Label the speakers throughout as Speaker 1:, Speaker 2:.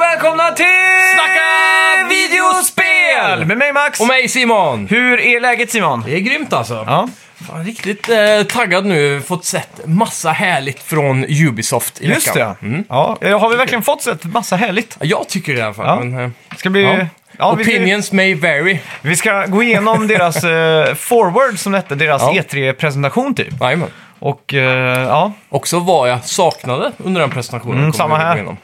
Speaker 1: välkomna till
Speaker 2: Snacka videospel!
Speaker 1: Med mig Max!
Speaker 2: Och mig Simon!
Speaker 1: Hur är läget Simon?
Speaker 2: Det är grymt alltså.
Speaker 1: Ja.
Speaker 2: Fan, riktigt eh, taggad nu. Fått sett massa härligt från Ubisoft i
Speaker 1: Just
Speaker 2: veckan.
Speaker 1: det. Ja, ja, har vi verkligen fått sett massa härligt?
Speaker 2: det. Jag tycker det i alla fall.
Speaker 1: Ja.
Speaker 2: Men, eh,
Speaker 1: Ska bli...
Speaker 2: Ja.
Speaker 1: Ja. vi,
Speaker 2: opinions may vary.
Speaker 1: vi ska gå igenom deras eh, forward, som det hette, deras
Speaker 2: Ja.
Speaker 1: E3-presentation typ.
Speaker 2: Jajamän.
Speaker 1: Och eh, ja,
Speaker 2: Också vad jag saknade under den presentationen.
Speaker 1: Mm,
Speaker 2: kommer
Speaker 1: samma
Speaker 2: vi gå
Speaker 1: här.
Speaker 2: igenom.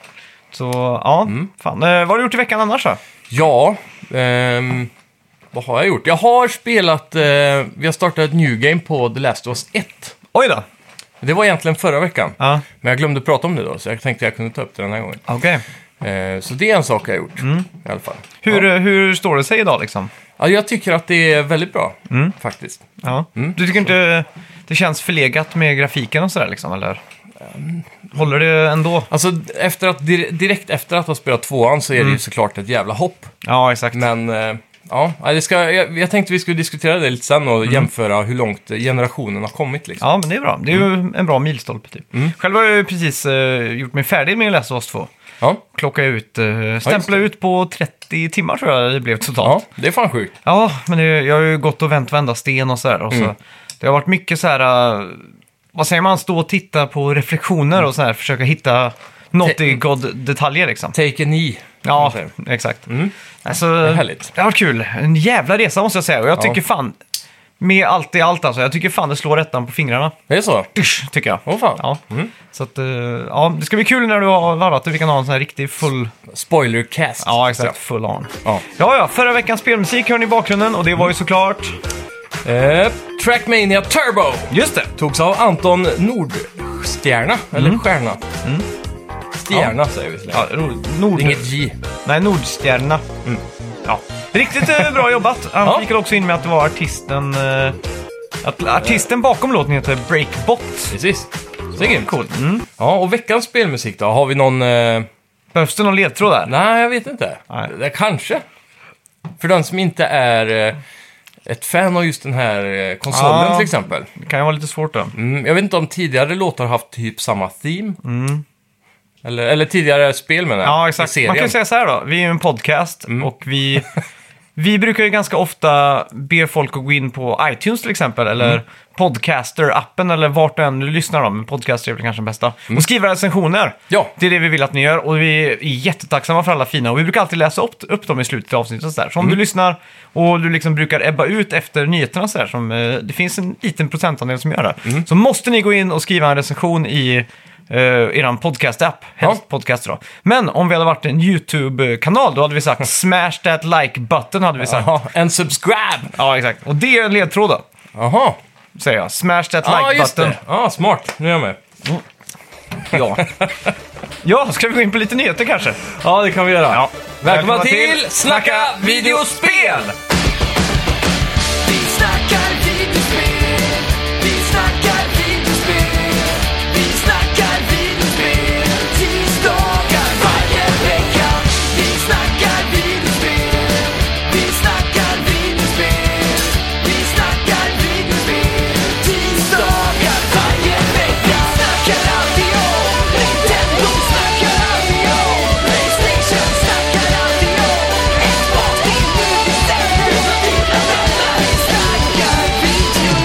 Speaker 1: så ja. Fan. Eh, vad har du gjort i veckan annars då?
Speaker 2: Ja, ehm, vad har jag gjort? Jag har spelat, eh, vi har startat ett new game på The Last of Us 1.
Speaker 1: Oj då!
Speaker 2: Det var egentligen förra veckan.
Speaker 1: Ja.
Speaker 2: Men jag glömde prata om det då, så jag tänkte jag kunde ta upp det den här gången.
Speaker 1: Okej.
Speaker 2: Eh, så det är en sak jag har gjort, i alla fall.
Speaker 1: Mm. Hur, eh, hur står det sig idag liksom?
Speaker 2: Ja, jag tycker att det är väldigt bra,
Speaker 1: Mm.
Speaker 2: faktiskt.
Speaker 1: Ja. Du tycker inte det känns förlegat med grafiken och sådär liksom, eller? Håller det ändå?
Speaker 2: Alltså, efter att, dir- direkt efter att ha spelat tvåan så är
Speaker 1: Mm.
Speaker 2: det ju såklart ett jävla hopp.
Speaker 1: Ja, exakt.
Speaker 2: Men, eh, ja, ja, det ska, jag, jag tänkte vi skulle diskutera det lite sen
Speaker 1: Mm.
Speaker 2: och jämföra hur långt generationen har kommit liksom.
Speaker 1: Ja, men det är bra. Det är
Speaker 2: Mm.
Speaker 1: ju en bra milstolpe typ. Själv har jag ju precis eh, gjort mig färdig med Last of Us 2.
Speaker 2: Ja.
Speaker 1: Klocka ut, uh, stämpla
Speaker 2: det.
Speaker 1: ut på 30 timmar tror jag det blev
Speaker 2: ja,
Speaker 1: totalt.
Speaker 2: det är fan sjukt.
Speaker 1: Ja, men det, jag har ju gått och vänt vända sten och sådär. Och så,
Speaker 2: Mm.
Speaker 1: Det har varit mycket så här, eh, vad säger man, stå och titta på reflektioner och sådär, försöka hitta något i god-detaljer liksom.
Speaker 2: Take a knee.
Speaker 1: Ja,
Speaker 2: man
Speaker 1: exakt.
Speaker 2: Mm.
Speaker 1: Alltså,
Speaker 2: är härligt.
Speaker 1: Det har varit kul. En jävla resa måste jag säga. Och jag
Speaker 2: Ja.
Speaker 1: tycker fan, med allt i allt alltså, jag tycker fan det slår ettan på fingrarna.
Speaker 2: Det är så?
Speaker 1: Usch, tycker jag.
Speaker 2: Åh fan.
Speaker 1: Ja.
Speaker 2: Mm.
Speaker 1: Så att, eh, ja, det ska bli kul när du har varvat det. Vi kan ha en sån här riktig full...
Speaker 2: Spoilercast.
Speaker 1: Full on.
Speaker 2: Ja.
Speaker 1: Ja, ja. Förra veckans spelmusik hör ni i bakgrunden och det
Speaker 2: Mm.
Speaker 1: var ju såklart...
Speaker 2: Eh, Trackmania Turbo
Speaker 1: Just det!
Speaker 2: togs av Anton Nordstjärna, eller Stjärna. Stjärna säger vi. så länge.
Speaker 1: Mm. Ja, ro- Nord...
Speaker 2: Det är Inget J.
Speaker 1: Nej, Nordstjärna. Ja. Riktigt eh, bra jobbat. Han
Speaker 2: Ja.
Speaker 1: fick också in med att det var artisten... eh, att artisten bakom låten heter Breakbot.
Speaker 2: Precis. Så det är grymt.
Speaker 1: Coolt. Mm.
Speaker 2: Ja, och veckans spelmusik då? Har vi någon... Eh...
Speaker 1: Behövs det någon ledtråd där?
Speaker 2: Nej, jag vet inte.
Speaker 1: Nej.
Speaker 2: Det, kanske. För den som inte är eh, ett fan av just den här eh, konsolen
Speaker 1: Ja.
Speaker 2: till exempel.
Speaker 1: Det kan ju vara lite svårt då.
Speaker 2: Mm, jag vet inte om tidigare låtar haft typ samma theme. Eller, eller tidigare spel menar jag.
Speaker 1: Mm. Ja,
Speaker 2: I
Speaker 1: exakt.
Speaker 2: serien. Mm.
Speaker 1: Man kan ju säga så här då. Vi är ju en podcast och vi, vi brukar ju ganska ofta be folk att gå in på iTunes till exempel, eller
Speaker 2: Mm.
Speaker 1: Podcaster-appen, eller vart du än lyssnar då, men Podcaster är väl kanske den bästa, och skriva recensioner.
Speaker 2: Mm. Ja.
Speaker 1: Det är det vi vill att ni gör och vi är jättetacksamma för alla fina och vi brukar alltid läsa upp, upp dem i slutet av avsnittet. och Så, där. så om
Speaker 2: Mm.
Speaker 1: du lyssnar och du liksom brukar ebba ut efter nyheterna så, där, som, eh, det finns en liten procentandel som gör det,
Speaker 2: Mm.
Speaker 1: så måste ni gå in och skriva en recension i eh, eran podcast-app, helst
Speaker 2: Ja.
Speaker 1: podcast då. Men om vi hade varit en YouTube-kanal då hade vi sagt smash that like button hade vi sagt. Ja,
Speaker 2: Jaha, en subscribe!
Speaker 1: exakt. Och det är en ledtråd då,
Speaker 2: Jaha.
Speaker 1: säger jag. Smash that
Speaker 2: Ja,
Speaker 1: like
Speaker 2: just
Speaker 1: button.
Speaker 2: det. Ja, smart. Nu är jag med.
Speaker 1: Ja. ja, ska vi gå in på lite nyheter kanske?
Speaker 2: Ja, det kan vi göra.
Speaker 1: Ja.
Speaker 2: Välkomna, till Snacka videospel!
Speaker 3: Vi snackar videospel, vi snackar videospel, vi snackar videospel tisdagar varje vecka. Vi snackar videospel, vi snackar videospel, vi snackar videospel tisdagar varje vecka. Snackar alltid om Nintendo, snackar alltid om Playstation, snackar alltid om Xbox, det är nu vi sänder så dina vänner. Vi snackar video.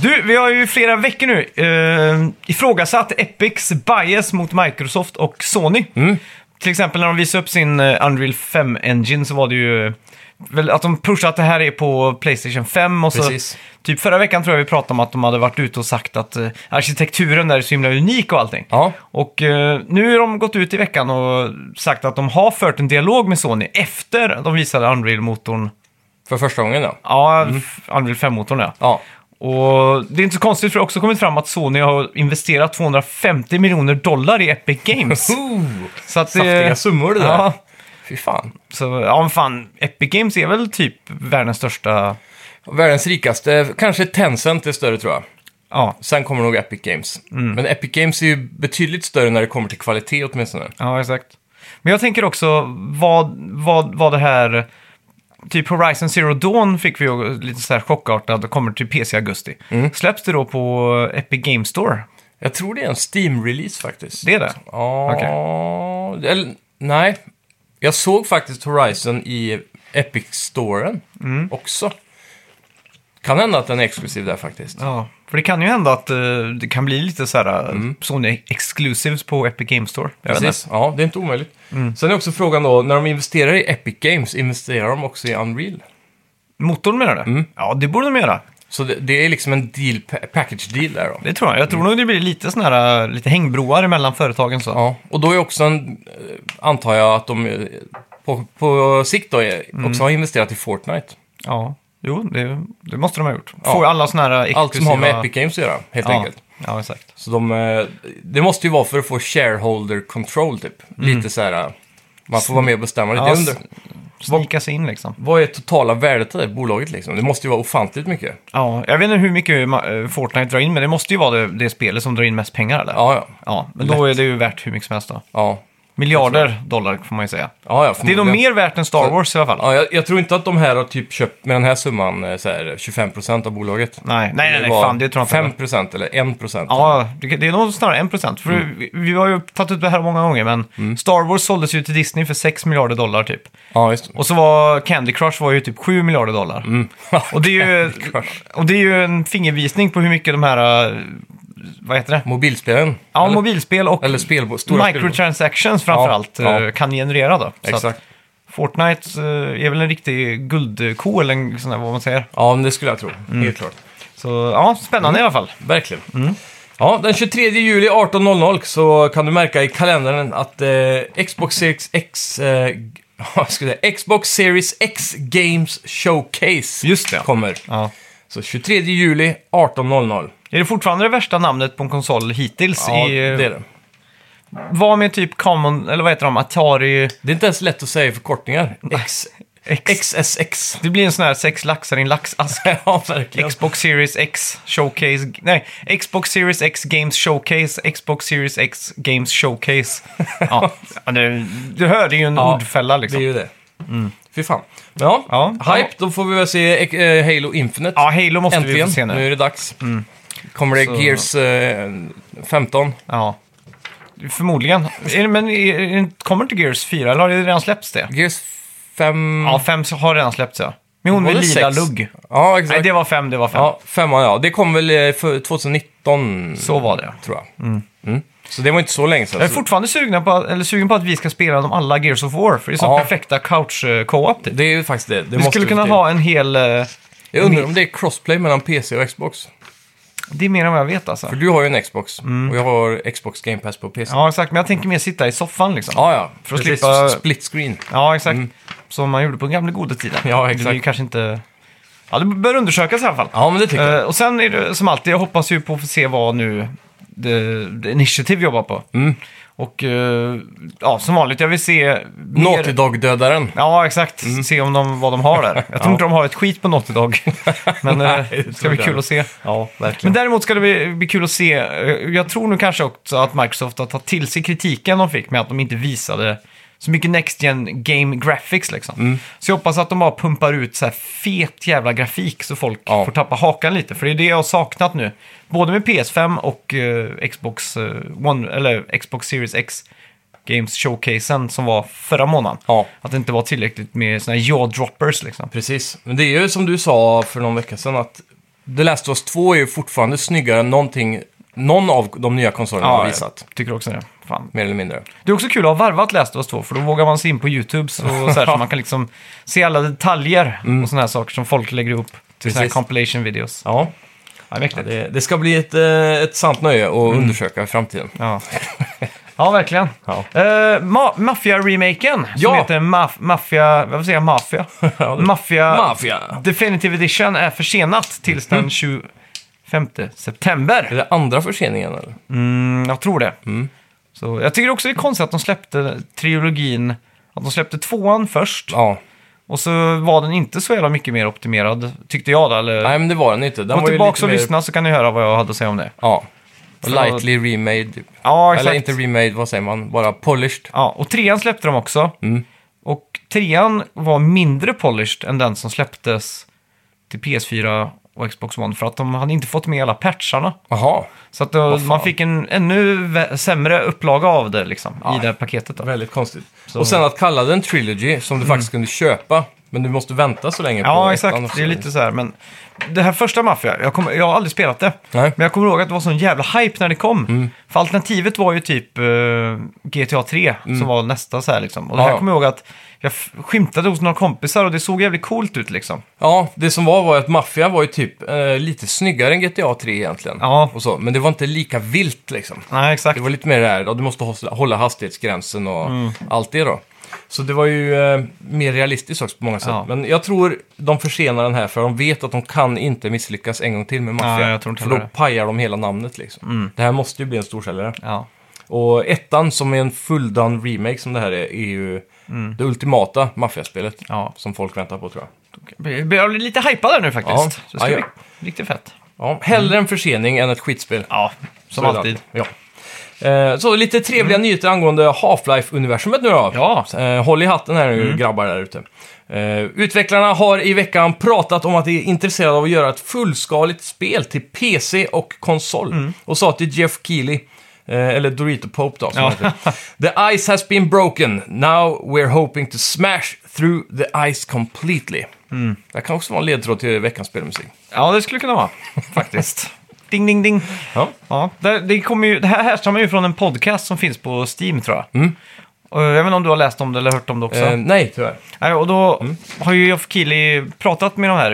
Speaker 1: Du, vi har ju flera veckor nu eh, ifrågasatt Epics bias mot Microsoft och Sony.
Speaker 2: Mm.
Speaker 1: Till exempel när de visade upp sin eh, Unreal 5-engine så var det ju eh, väl att de pushade att det här är på Playstation 5 och så
Speaker 2: Precis.
Speaker 1: typ förra veckan tror jag vi pratade om att de hade varit ute och sagt att eh, arkitekturen där är så himla unik och allting.
Speaker 2: Ja.
Speaker 1: Och eh, nu har de gått ut i veckan och sagt att de har fört en dialog med Sony efter de visade Unreal-motorn.
Speaker 2: För första gången då.
Speaker 1: Ja, f- Unreal 5-motorn ja.
Speaker 2: Mm. Ja.
Speaker 1: Och det är inte så konstigt för det har också kommit fram att Sony har investerat 250 miljoner dollar i Epic Games.
Speaker 2: Ooh,
Speaker 1: så att
Speaker 2: saftiga summor det där.
Speaker 1: Ja,
Speaker 2: Fy fan.
Speaker 1: så, ja men fan, Epic Games är väl typ världens största...
Speaker 2: Världens rikaste, kanske Tencent är större tror jag.
Speaker 1: Ja,
Speaker 2: Sen kommer nog Epic Games.
Speaker 1: Mm.
Speaker 2: Men Epic Games är ju betydligt större när det kommer till kvalitet åtminstone.
Speaker 1: ja exakt. Men jag tänker också vad, vad, vad det här... Typ Horizon Zero Dawn fick vi
Speaker 2: Mm.
Speaker 1: ju lite så här chockartad, kommer till PC i augusti. Släpps det då på Epic Games Store?
Speaker 2: Jag tror det är en Steam-release faktiskt.
Speaker 1: Det är det?
Speaker 2: Ja, eller nej. Jag såg faktiskt Horizon i Epic-storen
Speaker 1: Mm.
Speaker 2: också. Kan hända att den är exklusiv där faktiskt.
Speaker 1: Ja, för det kan ju hända att eh, det kan bli lite så här eh, Sony Exclusives på Epic Games Store. Jag vet
Speaker 2: Mm.
Speaker 1: Mm.
Speaker 2: Precis, ja, det är inte omöjligt. Sen är också frågan då, när de investerar i Epic Games, investerar de också i Unreal?
Speaker 1: inte. Motorn menar du?
Speaker 2: Mm.
Speaker 1: Ja, det borde de göra.
Speaker 2: Så det, det är liksom en deal, pa- package deal där då?
Speaker 1: Det tror jag. Jag tror nog det blir lite sån här, eh, lite hängbroar mellan företagen så.
Speaker 2: Mm. Ja, och då är också en, eh, antar jag att de eh, på, på sikt då är,
Speaker 1: Mm.
Speaker 2: också har investerat i Fortnite.
Speaker 1: Ja. Jo, det, det måste de ha gjort.
Speaker 2: Ja.
Speaker 1: Får alla såna här eh, exklusiva...
Speaker 2: Allt som har med Epic Games att göra, helt
Speaker 1: ja.
Speaker 2: enkelt.
Speaker 1: ja, exakt.
Speaker 2: Så de, eh, det måste ju vara för att få shareholder control typ. Lite så här, eh, man får vara med och bestämma lite.
Speaker 1: Mm. Ja,
Speaker 2: Jag undrar,
Speaker 1: s- Snika sig in liksom.
Speaker 2: vad är totala värdet av det bolaget liksom? Det måste ju vara ofantligt mycket.
Speaker 1: Ja, jag vet inte hur mycket ma- eh, Fortnite drar in, men det måste ju vara det, det spelet som drar in mest pengar eller?
Speaker 2: Ja, ja.
Speaker 1: Ja, men då är det ju värt hur mycket som helst då.
Speaker 2: Ja,
Speaker 1: Miljarder dollar får man ju säga.
Speaker 2: ja, ja
Speaker 1: Det är nog
Speaker 2: förmodligen.
Speaker 1: mer värt än Star Wars i alla fall.
Speaker 2: Ja, jag, jag tror inte att de här har typ köpt, med den här summan, eh, så här, 25% av bolaget.
Speaker 1: Nej, nej, nej, nej,
Speaker 2: var
Speaker 1: fan, det tror jag inte.
Speaker 2: 5% eller 1%.
Speaker 1: Ja, det, det är nog snarare 1%. För
Speaker 2: Mm.
Speaker 1: vi, vi har ju tagit ut det här många gånger, men Star Wars såldes ju till Disney för 6 miljarder dollar typ.
Speaker 2: ja just det.
Speaker 1: Och så var Candy Crush var ju typ 7 miljarder dollar. Och, det är ju,
Speaker 2: Mm. Crush.
Speaker 1: och det är ju en fingervisning på hur mycket de här, eh, vad heter det?
Speaker 2: Mobilspelen.
Speaker 1: Ja,
Speaker 2: eller,
Speaker 1: mobilspel och
Speaker 2: eller spelbo- stora spelbo-
Speaker 1: microtransactions framförallt
Speaker 2: Ja, ja.
Speaker 1: eh, kan generera då. Så
Speaker 2: Exakt.
Speaker 1: att Fortnite eh, är väl en riktig guldko eller en sån där, vad man säger.
Speaker 2: Ja, men det skulle jag tro.
Speaker 1: Mm.
Speaker 2: Helt klart.
Speaker 1: Så ja,
Speaker 2: Mm.
Speaker 1: spännande i alla fall.
Speaker 2: Verkligen.
Speaker 1: Mm.
Speaker 2: Ja, den 23 juli 18.00 så kan du märka i kalendern att eh, Xbox Series X... Eh, vad ska jag säga? Xbox Series X Games Showcase
Speaker 1: Just det.
Speaker 2: kommer.
Speaker 1: Ja.
Speaker 2: Så 23 juli 18.00.
Speaker 1: Är det fortfarande det värsta namnet på en konsol hittills?
Speaker 2: Ja,
Speaker 1: i, eh,
Speaker 2: det är det.
Speaker 1: Vad med typ Common, eller vad heter de, Atari...
Speaker 2: Det är inte ens lätt att säga i förkortningar. X,
Speaker 1: X.
Speaker 2: XSX.
Speaker 1: Det blir en sån här sex laxar i en laxask.
Speaker 2: ja, verkligen.
Speaker 1: Xbox Series X Showcase... Nej, Xbox Series X Games Showcase, Xbox Series X Games Showcase. Ja, ja, det, du hör, det är ju en
Speaker 2: Ja,
Speaker 1: ordfälla
Speaker 2: det är
Speaker 1: liksom.
Speaker 2: ju det. Mm. Fy fan. Men ja,
Speaker 1: Ja.
Speaker 2: hype. Då får vi väl se eh, Halo Infinite.
Speaker 1: Ja, Halo måste vi
Speaker 2: Äntligen.
Speaker 1: få se
Speaker 2: nu.
Speaker 1: nu. Mm.
Speaker 2: är det dags. Kommer det
Speaker 1: Så-
Speaker 2: Gears eh, 15?
Speaker 1: Ja. Förmodligen. Är det- Men är- är- kommer inte Gears 4, eller har det redan släppts det?
Speaker 2: Gears 5?
Speaker 1: Ja, 5 har redan släppts ja. Men hon
Speaker 2: Var
Speaker 1: med
Speaker 2: det
Speaker 1: lila
Speaker 2: sex?
Speaker 1: lugg.
Speaker 2: Ja, exakt.
Speaker 1: Nej, det var 5, det var 5.
Speaker 2: Ja, femman ja. Det kom väl eh, för 2019,
Speaker 1: Så var det.
Speaker 2: tror jag. Mm. Så det var inte så länge sedan.
Speaker 1: Jag är fortfarande sugen på, att- eller sugen på att vi ska spela de alla Gears of War, för det är så
Speaker 2: Ja.
Speaker 1: perfekta couch eh, co-op. Typ.
Speaker 2: Det är ju faktiskt det. det
Speaker 1: Vi
Speaker 2: måste
Speaker 1: skulle
Speaker 2: vi
Speaker 1: kunna
Speaker 2: till.
Speaker 1: ha en hel... eh,
Speaker 2: Jag undrar om det är crossplay mellan PC och Xbox.
Speaker 1: Det är mer än vad jag vet alltså.
Speaker 2: För du har ju en Xbox och jag har Xbox Game Pass på PC. Ja,
Speaker 1: Mm. Ja, exakt. Men jag tänker mer sitta i soffan liksom.
Speaker 2: ja. För
Speaker 1: att slippa-
Speaker 2: Split screen.
Speaker 1: Ja, exakt. Som man gjorde på den gamla goda tiden.
Speaker 2: Ja,
Speaker 1: Det
Speaker 2: exakt.
Speaker 1: blir ju kanske inte... Ja, det bör undersökas i alla fall.
Speaker 2: Ja, men det tycker jag.
Speaker 1: Eh, och sen är det som alltid, jag hoppas ju på att få se vad nu The, the Initiative jobbar på.
Speaker 2: Mm.
Speaker 1: Och eh, ja, som vanligt, jag vill se... mer-
Speaker 2: Naughty Dog-dödaren.
Speaker 1: Ja, exakt.
Speaker 2: Mm.
Speaker 1: Se om de, vad de har där. Jag tror inte de har ett skit på Naughty Dog. Men eh,
Speaker 2: Nej, det
Speaker 1: det ska
Speaker 2: tror
Speaker 1: bli
Speaker 2: jag
Speaker 1: kul
Speaker 2: inte.
Speaker 1: att se.
Speaker 2: Ja,
Speaker 1: Men
Speaker 2: verkligen.
Speaker 1: däremot ska det bli, bli kul att se. eh, Jag tror nu kanske också att Microsoft har tagit till sig kritiken de fick med att de inte visade så mycket Next Gen Game Graphics liksom.
Speaker 2: Mm.
Speaker 1: Så jag hoppas att de bara pumpar ut så här fet jävla grafik så folk
Speaker 2: Ja.
Speaker 1: får tappa hakan lite. För det är det jag har saknat nu. Både med PS5 och eh, Xbox, eh, One, eller Xbox Series X Games Showcasen som var förra månaden.
Speaker 2: Ja.
Speaker 1: Att det inte var tillräckligt med såna här jaw-droppers liksom.
Speaker 2: Precis. Men det är ju som du sa för någon vecka sedan att The Last of Us 2 är ju fortfarande snyggare än någonting någon av de nya konsolerna har visat.
Speaker 1: jag tycker också det. Fan,
Speaker 2: Mer eller mindre.
Speaker 1: Det är också kul att ha varvat Last of Us 2, för då vågar man se in på YouTube så, så, här, så man kan liksom se alla detaljer och sådana här saker som folk lägger ihop till sådana här
Speaker 2: Mm. Precis.
Speaker 1: compilation videos. Ja,
Speaker 2: Ja,
Speaker 1: mäktigt.
Speaker 2: det, det ska bli ett, eh, ett sant nöje att undersöka i framtiden.
Speaker 1: Ja. ja, verkligen.
Speaker 2: Ja.
Speaker 1: Eh, ma Mafia-remaken, som
Speaker 2: Ja.
Speaker 1: heter Maf Mafia... Vad säger jag? Mafia? Mafia...
Speaker 2: Mafia! Mm.
Speaker 1: Definitive Edition är försenat tills den 25 september.
Speaker 2: Är det andra förseningen eller?
Speaker 1: Mm, jag tror det. Så jag tycker också det är konstigt att de släppte trilogin, att de släppte tvåan först.
Speaker 2: Ja.
Speaker 1: Och så var den inte så jävla mycket mer optimerad, tyckte jag då. Eller...
Speaker 2: Nej, men det var den inte. Den var
Speaker 1: Gå
Speaker 2: ju
Speaker 1: tillbaka
Speaker 2: lite
Speaker 1: och
Speaker 2: mer-
Speaker 1: lyssna så kan ni höra vad jag hade att säga om det.
Speaker 2: Ja.
Speaker 1: Så-
Speaker 2: Lightly remade. typ.
Speaker 1: Ja,
Speaker 2: Eller
Speaker 1: exakt.
Speaker 2: inte remade, vad säger man? Bara polished.
Speaker 1: Ja, och trean släppte de också.
Speaker 2: Mm.
Speaker 1: Och trean var mindre polished än den som släpptes till PS4 och Xbox One för att de hade inte fått med alla patcharna.
Speaker 2: Jaha,
Speaker 1: Så att då,
Speaker 2: fan.
Speaker 1: man fick en ännu vä- sämre upplaga av det liksom, i det här paketet. Då.
Speaker 2: väldigt konstigt. Och sen att kalla den Trilogy, som du faktiskt kunde köpa, men du måste vänta så länge på
Speaker 1: Mm. Ja,
Speaker 2: ettan
Speaker 1: exakt.
Speaker 2: också.
Speaker 1: Det är lite så här, men... Det här första Mafia, jag, kommer- jag har aldrig spelat det.
Speaker 2: Nej. Mm.
Speaker 1: Men jag kommer ihåg att det var sån jävla hype när det kom. För alternativet var ju typ eh, GTA 3, som var nästa så här liksom. Och det
Speaker 2: Mm. Ja.
Speaker 1: här kommer jag ihåg att jag f- skymtade hos några kompisar och det såg jävligt coolt ut liksom.
Speaker 2: Ja, det som var var ju att Mafia var ju typ eh, lite snyggare än GTA 3 egentligen.
Speaker 1: Ja.
Speaker 2: Och så. Men det var inte lika vilt liksom.
Speaker 1: Nej, exakt.
Speaker 2: Det var lite mer det här, ja, du måste hå- hålla hastighetsgränsen och
Speaker 1: Mm.
Speaker 2: allt det då. Så det var ju eh, mer realistiskt också på många sätt.
Speaker 1: Ja.
Speaker 2: Men jag tror de försenar den här för de vet att de kan inte misslyckas en gång till med Mafia.
Speaker 1: Nej, jag tror inte
Speaker 2: för då
Speaker 1: heller Mm. det.
Speaker 2: pajar de hela namnet liksom. Det här måste ju bli en storsäljare.
Speaker 1: Ja.
Speaker 2: Och ettan som är en fulldan remake som det här är, är ju det ultimata Mafia-spelet.
Speaker 1: Ja.
Speaker 2: Som folk väntar på tror jag.
Speaker 1: Jag blir lite hypad där nu faktiskt.
Speaker 2: Ja.
Speaker 1: Så det ska
Speaker 2: Ja, ja.
Speaker 1: bli riktigt fett.
Speaker 2: Ja, hellre en försening än ett skitspel.
Speaker 1: Ja, som
Speaker 2: Så är det
Speaker 1: alltid.
Speaker 2: alltid. Ja. Eh, Så lite trevliga nyheter angående Half-Life-universumet nu då.
Speaker 1: Mm. Ja. Mm.
Speaker 2: Eh, Håll i hatten här nu grabbar där ute. Eh, Utvecklarna har i veckan pratat om att de är intresserade av att göra ett fullskaligt spel till PC och konsol.
Speaker 1: Mm.
Speaker 2: Och sa till Jeff Keely, eh, eller Dorito Pope då, som
Speaker 1: Ja.
Speaker 2: heter. The ice has been broken. Now we're hoping to smash through the ice completely.
Speaker 1: Mm.
Speaker 2: Det här kan också vara en ledtråd till veckans spelmusik.
Speaker 1: Ja, det skulle kunna vara. Faktiskt. ding, ding, ding.
Speaker 2: Ja.
Speaker 1: Ja, det, det, kommer ju, det här härstammar ju från en podcast som finns på Steam tror jag. Och jag vet inte om du har läst om det eller hört om det också.
Speaker 2: Mm. Eh, mm. nej, tyvärr.
Speaker 1: Nej, och då har ju Geoff Keighley pratat med de här,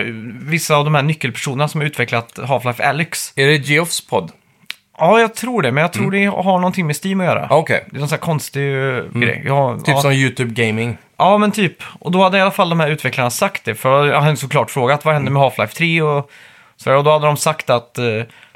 Speaker 1: vissa av de här nyckelpersonerna som har utvecklat Half-Life Alyx.
Speaker 2: Är det Geoffs podd?
Speaker 1: Ja, jag tror det, men jag tror det har någonting med Steam att göra.
Speaker 2: Mm. Ah, Okej.
Speaker 1: Det är någon sån här konstig eh, grej. Ja,
Speaker 2: Typ
Speaker 1: ja.
Speaker 2: som YouTube Gaming.
Speaker 1: Ja, men typ. Och då hade i alla fall de här utvecklarna sagt det. För jag hade såklart frågat vad hände med Half-Life 3 och så där. Och då hade de sagt att eh,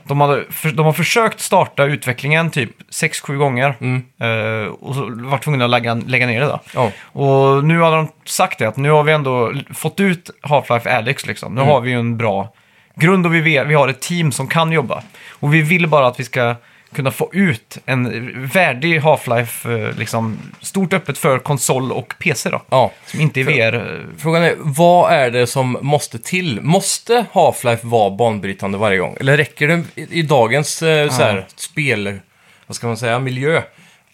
Speaker 1: de, hade, för, de har försökt starta utvecklingen typ 6-7 gånger. Eh, och så var tvungna att lägga, lägga ner det då.
Speaker 2: Ja.
Speaker 1: Och nu hade de sagt det att nu har vi ändå l- fått ut Half-Life Alyx liksom.
Speaker 2: Mm.
Speaker 1: Nu har vi ju en bra grund och vi, vet, vi har ett team som kan jobba. Och vi vill bara att vi ska kunna få ut en värdig Half-Life, eh, liksom stort öppet för konsol och PC då.
Speaker 2: Ja.
Speaker 1: Som inte är VR. eh,
Speaker 2: Frågan är, vad är det som måste till? Måste Half-Life vara banbrytande varje gång? Eller räcker det i, i dagens eh, så här, spel, vad ska man säga, miljö,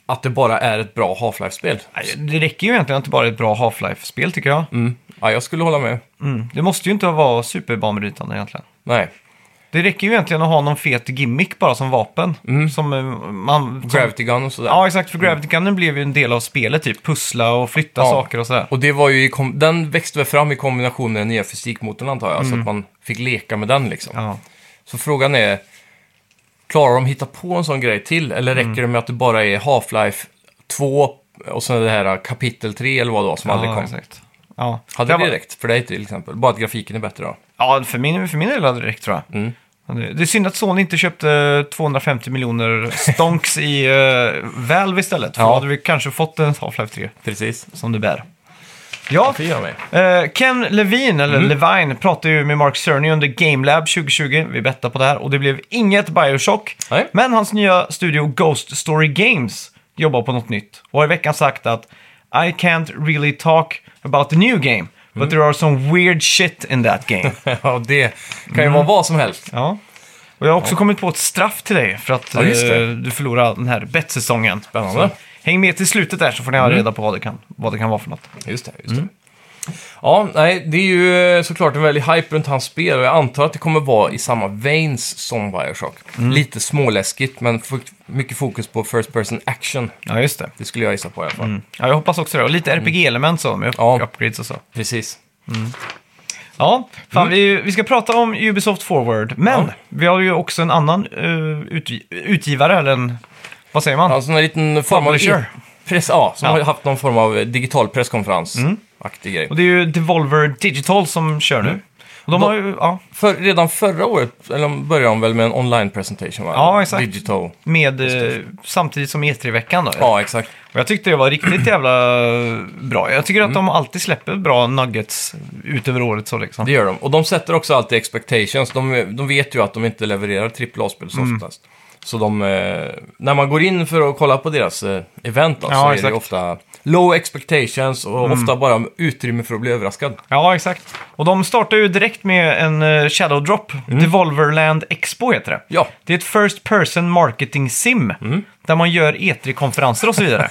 Speaker 2: att det bara är ett bra Half-Life-spel?
Speaker 1: nej, Det räcker ju egentligen inte bara ett bra Half-Life-spel tycker jag.
Speaker 2: Mm. Ja, jag skulle hålla med.
Speaker 1: Mm. Det måste ju inte vara superbanbrytande egentligen.
Speaker 2: Nej.
Speaker 1: Det räcker ju egentligen att ha någon fet gimmick bara som vapen. Som eh, man... Som,
Speaker 2: Gravity Gun Mm. och sådär.
Speaker 1: ja, exakt. För Gravity Gunnen blev ju en del av spelet, typ pussla och flytta
Speaker 2: Mm. Ja.
Speaker 1: saker och sådär.
Speaker 2: Och det var ju i kom- den växte väl fram i kombination med den nya fysikmotorn antar jag, så att man fick leka med den liksom.
Speaker 1: Mm. Ja.
Speaker 2: Så frågan är, klarar de hitta på en sån grej till? Eller
Speaker 1: Mm.
Speaker 2: räcker det med att det bara är Half-Life 2 och sen det här kapitel 3 eller vad det var som aldrig
Speaker 1: ja,
Speaker 2: kom?
Speaker 1: Exakt. Ja.
Speaker 2: Hade
Speaker 1: Jag
Speaker 2: det
Speaker 1: var-
Speaker 2: räckt för dig till exempel? Bara att grafiken är bättre då?
Speaker 1: Ja, för min, för min del hade det räckt tror jag.
Speaker 2: Mm.
Speaker 1: Men Det det är synd att Sony inte köpte 250 miljoner stonks i uh, Valve istället. För
Speaker 2: Ja.
Speaker 1: då hade vi kanske fått en Half-Life 3
Speaker 2: Precis.
Speaker 1: som det bär. Ja,
Speaker 2: Fyra mig.
Speaker 1: eh, Ken Levine, eller
Speaker 2: Mm.
Speaker 1: Levine, pratade ju med Mark Cerny under GameLab 2020. Vi bettade på det här och det blev inget Bioshock.
Speaker 2: Nej.
Speaker 1: Men hans nya studio Ghost Story Games jobbar på något nytt och har i veckan sagt att I can't really talk about the new game, but
Speaker 2: Mm.
Speaker 1: there are some weird shit in that game.
Speaker 2: ja, det kan ju
Speaker 1: Mm.
Speaker 2: vara vad som helst.
Speaker 1: Ja. Och jag har också kommit på ett straff till dig för att
Speaker 2: Ja, just det.
Speaker 1: eh, du förlorade den här bettsäsongen.
Speaker 2: Spännande. Mm.
Speaker 1: Så Häng med till slutet där så får ni ha reda på vad det kan, vad det kan vara för något.
Speaker 2: Just det, just
Speaker 1: Mm.
Speaker 2: det. Ja, nej, det är ju eh, såklart en väldig hype runt hans spel och jag antar att det kommer vara i samma veins som Bioshock.
Speaker 1: Mm.
Speaker 2: Lite småläskigt, men f- mycket fokus på first person action.
Speaker 1: Ja, just det.
Speaker 2: Det skulle jag gissa på i alla fall.
Speaker 1: Ja, jag hoppas också det. Och lite RPG-element så, med upp-
Speaker 2: Mm. Ja.
Speaker 1: upgrades och så.
Speaker 2: Precis.
Speaker 1: Ja, fan,
Speaker 2: Mm.
Speaker 1: vi, vi ska prata om Ubisoft Forward, men vi har ju också en annan eh, utgi- utgivare, eller en... Vad säger man?
Speaker 2: Alltså en liten form av...
Speaker 1: Publisher.
Speaker 2: Press, ja, som
Speaker 1: Ja. Mm.
Speaker 2: har haft någon form av digital presskonferens. Aktig grej.
Speaker 1: Och det är ju Devolver Digital som kör
Speaker 2: Mm.
Speaker 1: nu. Och de
Speaker 2: Då-
Speaker 1: har ju, ja,
Speaker 2: För, redan förra året eller började de väl med en online presentation? Va?
Speaker 1: Ja, exakt.
Speaker 2: Digital.
Speaker 1: med eh, samtidigt som E3-veckan då.
Speaker 2: Ja, exakt.
Speaker 1: Och jag tyckte det var riktigt jävla bra. Jag tycker
Speaker 2: Mm.
Speaker 1: att de alltid släpper bra nuggets ut över året så liksom.
Speaker 2: Det gör de. Och de sätter också alltid expectations. De, de vet ju att de inte levererar AAA-spel så
Speaker 1: Mm.
Speaker 2: oftast. Så de, eh, när man går in för att kolla på deras eh, event då,
Speaker 1: Ja,
Speaker 2: så är det
Speaker 1: exakt. Mm.
Speaker 2: ju ofta low expectations och ofta bara utrymme för att bli överraskad.
Speaker 1: Ja, exakt. Och de startar ju direkt med en eh, Shadow Drop. Devolverland Expo heter det.
Speaker 2: Mm. Ja. Mm.
Speaker 1: Det är ett First Person Marketing Sim. Där man gör E3-konferenser och så vidare.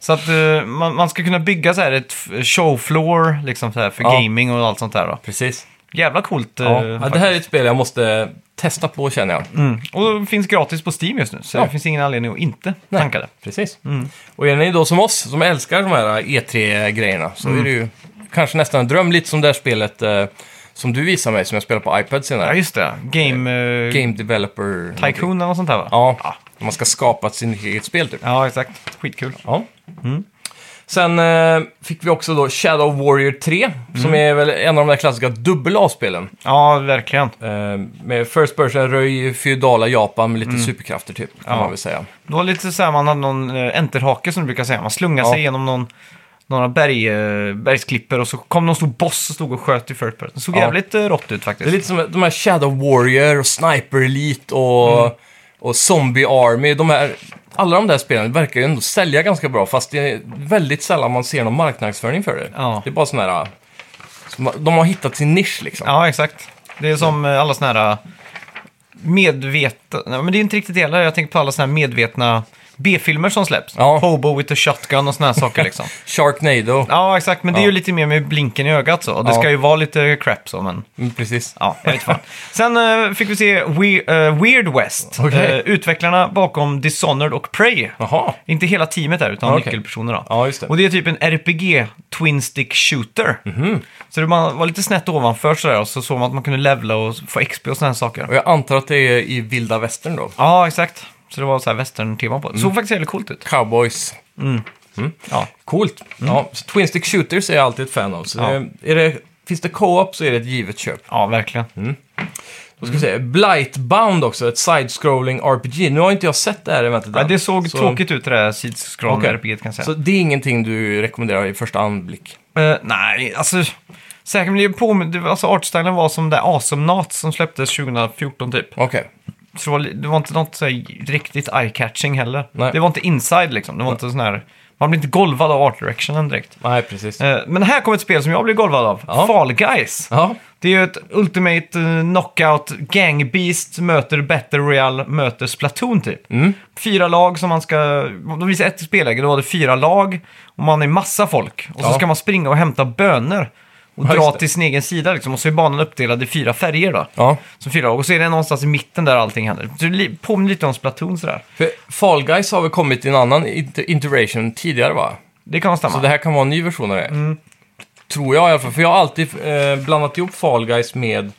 Speaker 1: så att eh, man, man ska kunna bygga så här ett f- showfloor liksom så här, för
Speaker 2: Ja.
Speaker 1: gaming och allt sånt där. Då.
Speaker 2: Precis.
Speaker 1: Jävla coolt. eh,
Speaker 2: Ja. Ja, det här är ett spel jag måste testa på känner jag.
Speaker 1: faktiskt. Och det finns gratis på Steam just nu. Så
Speaker 2: Ja.
Speaker 1: det finns ingen anledning att inte tanka det.
Speaker 2: Precis.
Speaker 1: Mm.
Speaker 2: Och är ni då som oss, som älskar de här E3-grejerna, så
Speaker 1: Mm.
Speaker 2: är det ju kanske nästan en dröm, lite som det här spelet eh, som du visar mig, som jag spelar på iPad senare.
Speaker 1: Ja, just det. Game, eh,
Speaker 2: Game Developer...
Speaker 1: Tycoon eller något sånt där va?
Speaker 2: Ja, man ska skapa sin eget spel typ.
Speaker 1: Ja, Mm. exakt. Skitkul.
Speaker 2: Ja. Sen eh, fick vi också då Shadow Warrior 3, som
Speaker 1: Mm.
Speaker 2: är väl en av de där klassiska dubbel A-spelen.
Speaker 1: Ja, verkligen.
Speaker 2: Eh, med First Person, röj, feodala Japan med lite
Speaker 1: Mm.
Speaker 2: superkrafter typ, kan man väl säga.
Speaker 1: Det var lite så här, man hade någon eh, enterhake som du brukar säga. Man slungade
Speaker 2: Ja.
Speaker 1: sig genom någon, några berg, eh, bergsklipper och så kom någon stor boss och stod och sköt i first person. Det såg
Speaker 2: Ja.
Speaker 1: jävligt eh, rått ut
Speaker 2: Det är
Speaker 1: faktiskt.
Speaker 2: lite som de här Shadow Warrior och Sniper Elite och, och Zombie Army. De här, alla de där spelen verkar ju ändå sälja ganska bra, fast det är väldigt sällan man ser någon marknadsföring för det.
Speaker 1: Ja.
Speaker 2: Det är bara sådana här... som- De har hittat sin nisch liksom.
Speaker 1: Ja, exakt. Det är som eh, alla sådana här medvetna... Nej, men det är inte riktigt det heller. Jag tänker på alla sådana här medvetna B-filmer som släpps.
Speaker 2: Ja.
Speaker 1: Hobo with a shotgun och sådana här saker liksom.
Speaker 2: Sharknado.
Speaker 1: Ja, exakt. Men det är ju
Speaker 2: Ja.
Speaker 1: lite mer med blinken i ögat så. Och det
Speaker 2: Ja.
Speaker 1: ska ju vara lite crap så, men...
Speaker 2: Mm, precis.
Speaker 1: Ja, jag vet fan. Sen eh, fick vi se We- eh, Weird West.
Speaker 2: Okej.
Speaker 1: Eh, utvecklarna bakom Dishonored och Prey.
Speaker 2: Jaha.
Speaker 1: Inte hela teamet där, utan
Speaker 2: Okej.
Speaker 1: nyckelpersoner då.
Speaker 2: Ja, just det.
Speaker 1: Och det är typ en RPG Twin Stick Shooter.
Speaker 2: Mhm.
Speaker 1: Så det man var lite snett ovanför sådär och så såg man att man kunde levla och få XP och sådana här saker.
Speaker 2: Och jag antar att det är i vilda västern då.
Speaker 1: Ja, exakt. Så det var så här western-tema på det.
Speaker 2: Mm.
Speaker 1: Såg faktiskt jävligt coolt ut.
Speaker 2: Cowboys.
Speaker 1: Ja.
Speaker 2: Coolt. Ja, så Twin Stick Shooters är jag alltid ett fan av. Så
Speaker 1: Mm. Ja.
Speaker 2: det, är det, finns det co-op så är det ett givet köp.
Speaker 1: ja, verkligen.
Speaker 2: Då ska vi se. Blightbound också, ett side-scrolling RPG. Nu har inte jag sett det här eventet
Speaker 1: Ja,
Speaker 2: än.
Speaker 1: det såg
Speaker 2: så,
Speaker 1: tråkigt ut det där sidskran
Speaker 2: Okej.
Speaker 1: RPG kan jag säga.
Speaker 2: Så det är ingenting du rekommenderar i första anblick?
Speaker 1: Eh, nej, alltså... Säkert, men det är på, det, var- alltså artstylen var som det Awesome Not som släpptes 2014 typ.
Speaker 2: Okej.
Speaker 1: Så det var, li- det var inte något så här, riktigt eye-catching heller.
Speaker 2: Nej.
Speaker 1: Det var inte inside liksom. Det var inte sån här, man blir inte golvad av art directionen direkt.
Speaker 2: Nej, precis.
Speaker 1: Eh, men här kommer ett spel som jag blev golvad av.
Speaker 2: Ja.
Speaker 1: Fall Guys.
Speaker 2: Ja,
Speaker 1: Det är ju ett Ultimate eh, Knockout Gang Beast möter Battle Royale möter Splatoon typ.
Speaker 2: Mm.
Speaker 1: Fyra lag som man ska... De visar ett spelläge, då var det fyra lag och man är massa folk. Och så
Speaker 2: Ja.
Speaker 1: ska man springa och hämta bönor och
Speaker 2: Ja,
Speaker 1: dra
Speaker 2: just det.
Speaker 1: till sin egen sida liksom. Och så är banan uppdelad i fyra färger då.
Speaker 2: ja.
Speaker 1: Som fyra lag. Och så är det någonstans i mitten där allting händer. Så det li- påminner lite om Splatoon sådär.
Speaker 2: För Fall Guys har väl kommit i en annan inter- iteration tidigare va?
Speaker 1: Det kan stämma.
Speaker 2: Så det här kan vara en ny version av det.
Speaker 1: Mm.
Speaker 2: Tror jag i alla fall. För jag har alltid eh, blandat ihop Fall Guys med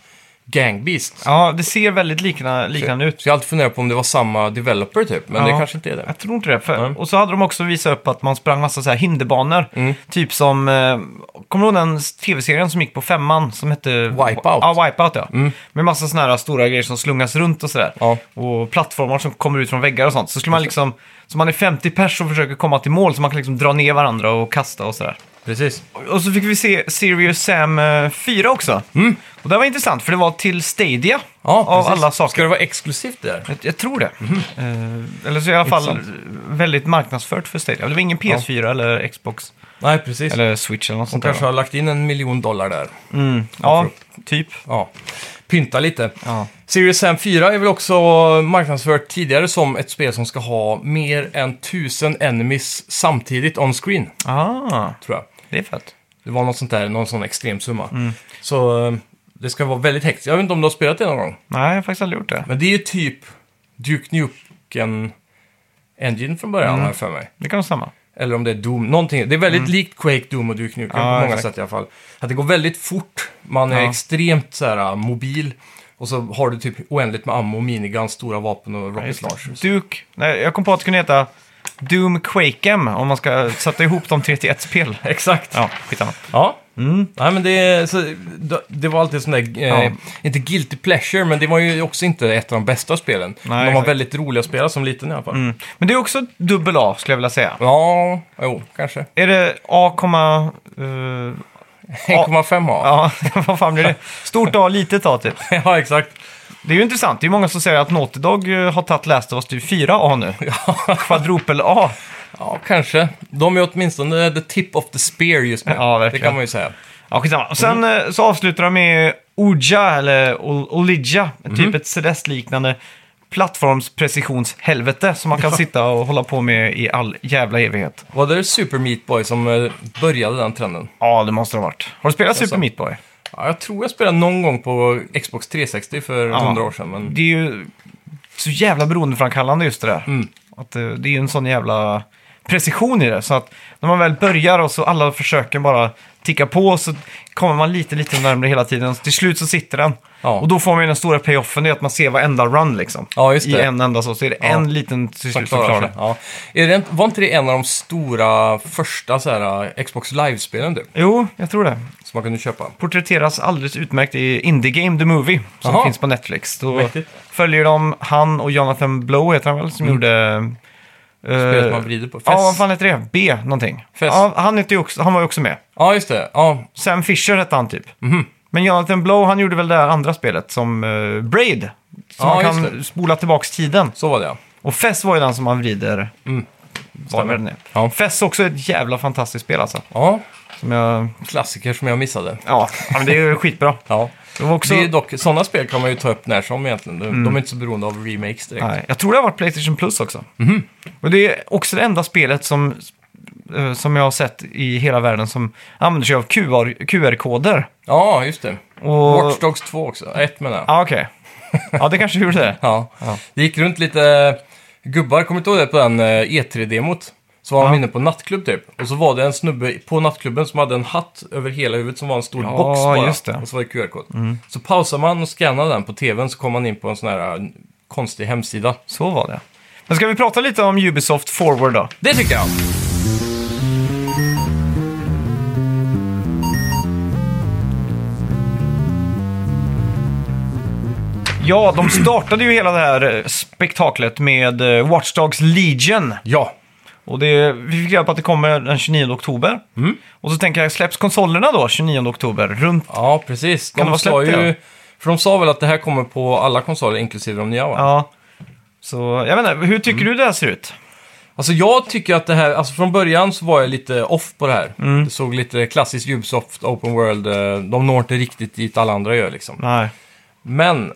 Speaker 2: Gang Beasts.
Speaker 1: Ja, det ser väldigt likna, liknande ut.
Speaker 2: Så jag har alltid funderat på om det var samma developer typ, men det
Speaker 1: Ja.
Speaker 2: kanske inte är det.
Speaker 1: Jag tror inte det. För,
Speaker 2: Nej. Mm.
Speaker 1: Och så hade de också visat upp att man sprang massa så här hinderbanor. Typ som, eh, kommer du ihåg den tv-serien som gick på femman som hette...
Speaker 2: Wipeout. Mm.
Speaker 1: Ja, Wipeout ja. Med massa såna här stora grejer som slungas runt och sådär.
Speaker 2: Ja.
Speaker 1: Och plattformar som kommer ut från väggar och sånt. Så skulle man liksom, så man är 50 pers och försöker komma till mål så man kan liksom dra ner varandra och kasta och sådär.
Speaker 2: Precis.
Speaker 1: Och så fick vi se Serious Sam eh, 4 också. Och det var intressant för det var till Stadia
Speaker 2: Mm. Ja,
Speaker 1: av
Speaker 2: precis.
Speaker 1: alla saker.
Speaker 2: Ska det vara exklusivt det där?
Speaker 1: Jag, jag tror det. Mhm. Eh, eller så i alla fall
Speaker 2: Intressant.
Speaker 1: väldigt marknadsfört för Stadia. Det var ingen PS4 eller Xbox
Speaker 2: Nej, precis.
Speaker 1: eller Switch eller något sånt där.
Speaker 2: Kanske
Speaker 1: va?
Speaker 2: har lagt in en miljon dollar där.
Speaker 1: Ja, typ.
Speaker 2: Ja, pynta lite.
Speaker 1: Ja.
Speaker 2: Serious Sam 4 är väl också marknadsfört tidigare som ett spel som ska ha mer än tusen enemies samtidigt on screen,
Speaker 1: Ah,
Speaker 2: tror jag.
Speaker 1: det är fett.
Speaker 2: Det var något sånt där, någon sån extrem summa. Så eh, det ska vara väldigt hektiskt. Jag vet inte om du har spelat det någon gång,
Speaker 1: Nej, jag har faktiskt aldrig gjort det.
Speaker 2: men det är ju typ Duke Nukem Engine från början, har jag för mig.
Speaker 1: Det kan stämma.
Speaker 2: Eller om det är Doom, någonting. Det är väldigt likt Quake, Doom och Duke Nukem
Speaker 1: Mm. Ja,
Speaker 2: på många
Speaker 1: exakt.
Speaker 2: sätt i alla fall. Att det går väldigt fort, man är
Speaker 1: Ja.
Speaker 2: extremt så här, äh, mobil. Och så har du typ oändligt med ammo, miniguns, stora vapen och rocket launchers.
Speaker 1: Duke. Nej, jag kom på att det kunde heta Doom Quakem om man ska sätta ihop dem tre till ett spel.
Speaker 2: Exakt. Ja.
Speaker 1: Ja, skitsamma.
Speaker 2: Nej, men det, är- så, det- det var alltid sån där, eh,
Speaker 1: Ja.
Speaker 2: inte guilty pleasure, men det var ju också inte ett av de bästa spelen. men de var
Speaker 1: exakt. Mm.
Speaker 2: väldigt roliga att spela som liten i alla fall.
Speaker 1: Men det är också dubbel A skulle jag vilja säga.
Speaker 2: Ja, jo, kanske.
Speaker 1: Är det A, komma, eh,
Speaker 2: 1,5 A.
Speaker 1: ja, vad fan blir det? Stort A, litet A typ.
Speaker 2: ja, exakt.
Speaker 1: Det är ju Typ intressant. Det är många som säger att Naughty Dog eh, har tagit Last of Us till 4A nu. Kvadrupel A.
Speaker 2: Ja, kanske. De är åtminstone the tip of the spear just nu.
Speaker 1: Ja,
Speaker 2: det
Speaker 1: verkligen.
Speaker 2: kan man ju säga.
Speaker 1: Ja, skitsamma. Och sen eh, så avslutar de med Oja, eller Ol- Olidja, typ ett Celeste-liknande plattformsprecisionshelvete som man kan sitta och hålla på med i all jävla evighet.
Speaker 2: Var det Super Meat Boy som eh, började den trenden?
Speaker 1: Ja, det måste det ha varit. Har du spelat
Speaker 2: Alltså.
Speaker 1: Super Meat Boy?
Speaker 2: Ja, jag tror jag spelade någon gång på Xbox 360 för
Speaker 1: Ja.
Speaker 2: hundra år sedan. Men...
Speaker 1: Det är ju så jävla beroendeframkallande just det där.
Speaker 2: Mm.
Speaker 1: Att eh, det är ju en sån jävla precision i det. Så att när man väl börjar och så alla försöken bara tickar på så kommer man lite, lite närmre hela tiden. Så till slut så sitter den.
Speaker 2: Ja.
Speaker 1: Och då får man ju den stora payoffen, det är att man ser varenda run liksom.
Speaker 2: Ja, just
Speaker 1: I
Speaker 2: det.
Speaker 1: en enda så, så är det
Speaker 2: Ja.
Speaker 1: en liten till
Speaker 2: som
Speaker 1: slut som klarar
Speaker 2: sig.
Speaker 1: det.
Speaker 2: Ja. Är det, inte- var inte det en av de stora första så här, eh, Xbox Live-spelen du?
Speaker 1: Jo, jag tror det.
Speaker 2: Som man kunde köpa?
Speaker 1: Porträtteras alldeles utmärkt i Indie Game The Movie som
Speaker 2: Jaha.
Speaker 1: finns på Netflix. Då
Speaker 2: Mäktigt. Mm.
Speaker 1: följer de han och Jonathan Blow heter han väl, som gjorde...
Speaker 2: Spelet
Speaker 1: eh,
Speaker 2: man vrider på. Fest.
Speaker 1: Ja, vad fan heter det? B någonting.
Speaker 2: Fess.
Speaker 1: Ja, han, heter ju också, han var ju också med.
Speaker 2: ja, just det. Ja,
Speaker 1: Sam Fisher hette han typ.
Speaker 2: Mhm.
Speaker 1: Men Jonathan Blow, han gjorde väl det här andra spelet som eh, Braid. Så
Speaker 2: Ja,
Speaker 1: man
Speaker 2: just
Speaker 1: kan spola tillbaks tiden.
Speaker 2: så var det ja.
Speaker 1: Och Fess var ju den som man vrider. Mm.
Speaker 2: Stämmer.
Speaker 1: Stämmer.
Speaker 2: Ja.
Speaker 1: Fess också är ett jävla fantastiskt spel alltså.
Speaker 2: ja.
Speaker 1: Som jag...
Speaker 2: Klassiker som jag missade.
Speaker 1: Ja, men det är ju skitbra.
Speaker 2: Ja.
Speaker 1: Det var också... Mm.
Speaker 2: Det är dock, sådana spel kan man ju ta upp när som egentligen. De, de är inte så beroende av remakes direkt.
Speaker 1: Nej, jag tror det har varit Playstation Plus också. Och det är också det enda spelet som, eh, som jag har sett i hela världen som använder sig av QR- QR-koder.
Speaker 2: Ja, just det.
Speaker 1: Och...
Speaker 2: Watch Dogs 2 också. Ett menar jag.
Speaker 1: Ja, okej. Ja, det kanske gjorde det.
Speaker 2: Ja. Det gick runt lite eh, gubbar, kommer du inte ihåg det, på den eh, E3-demot? Så var de inne på nattklubb typ. Och så var det en snubbe på nattklubben som hade en hatt över hela huvudet som var en stor
Speaker 1: Ja,
Speaker 2: box bara.
Speaker 1: just det. Mm.
Speaker 2: Och så var det QR-kod. Så pausade man och scannade den på tvn så kom man in på en sån här eh, konstig hemsida.
Speaker 1: Så var det. Men ska vi prata lite om Ubisoft Forward då?
Speaker 2: Det tycker jag!
Speaker 1: Ja, de startade ju hela det här eh, spektaklet med eh, Watch Dogs Legion.
Speaker 2: Ja,
Speaker 1: Och det, vi fick reda på att det kommer den 29 oktober. Och så tänker jag, släpps konsolerna då 29 oktober? Runt...
Speaker 2: ja precis. De
Speaker 1: Kan det vara
Speaker 2: sa
Speaker 1: släppt
Speaker 2: ju...
Speaker 1: igen?
Speaker 2: För de sa väl att det här kommer på alla konsoler, inklusive de nya va?
Speaker 1: Ja. Så, jag vet inte, hur tycker du det här ser ut?
Speaker 2: Alltså jag tycker att det här, alltså från början så var jag lite off på det här.
Speaker 1: Mm.
Speaker 2: Det såg lite klassiskt Ubisoft, Open World, eh, de når inte riktigt dit alla andra gör liksom.
Speaker 1: Nej.
Speaker 2: Men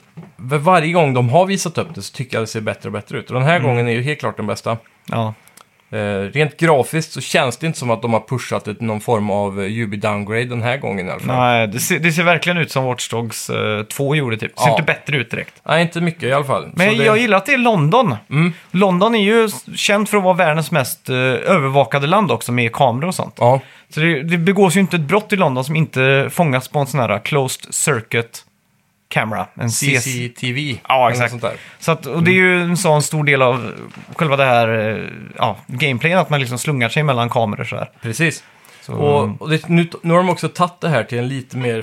Speaker 2: för varje gång de har visat upp det så tycker jag det ser bättre och bättre ut. Och den här
Speaker 1: Mm.
Speaker 2: gången är ju helt klart den bästa.
Speaker 1: Ja.
Speaker 2: Eh, rent grafiskt så känns det inte som att de har pushat ett, någon form av UB-downgrade den här gången i alla fall. Nej.
Speaker 1: Nej, det ser, det ser verkligen ut som Watch Dogs eh, 2 gjorde typ. Ser
Speaker 2: Ja.
Speaker 1: inte bättre ut direkt.
Speaker 2: inte mycket i alla fall.
Speaker 1: Men
Speaker 2: Så det, Mm.
Speaker 1: jag gillar att det är London. London är ju s- känt för att vara världens mest eh, övervakade land också med kameror och sånt.
Speaker 2: Ja,
Speaker 1: Så det, det begås ju inte ett brott i London som inte fångas på en sån här closed circuit camera. En CS.
Speaker 2: CCTV.
Speaker 1: Ja,
Speaker 2: eller
Speaker 1: exakt.
Speaker 2: något Sånt där.
Speaker 1: Så att, och det är ju en sån stor del av själva det här eh, ja, gameplayen, att man liksom slungar sig mellan kameror så här.
Speaker 2: Precis.
Speaker 1: Så,
Speaker 2: Och, och det, nu, nu har de också tagit det här till en lite mer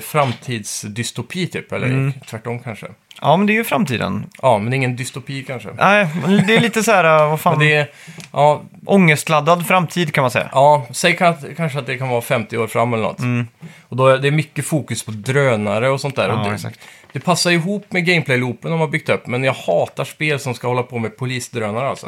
Speaker 2: framtidsdystopi typ, eller
Speaker 1: Mm.
Speaker 2: tvärtom kanske.
Speaker 1: Ja, men det är ju framtiden.
Speaker 2: Ja, men ingen dystopi kanske.
Speaker 1: Nej, men det är lite så här, eh, vad fan,
Speaker 2: Men det är, ja,
Speaker 1: ångestladdad framtid kan man säga.
Speaker 2: ja, säg kan- kanske att det kan vara 50 år fram eller något. Och då är det mycket fokus på drönare och sånt där. och
Speaker 1: Mm. Ja,
Speaker 2: det,
Speaker 1: exakt.
Speaker 2: det passar ihop med gameplay-loopen de har byggt upp, men jag hatar spel som ska hålla på med polisdrönare alltså.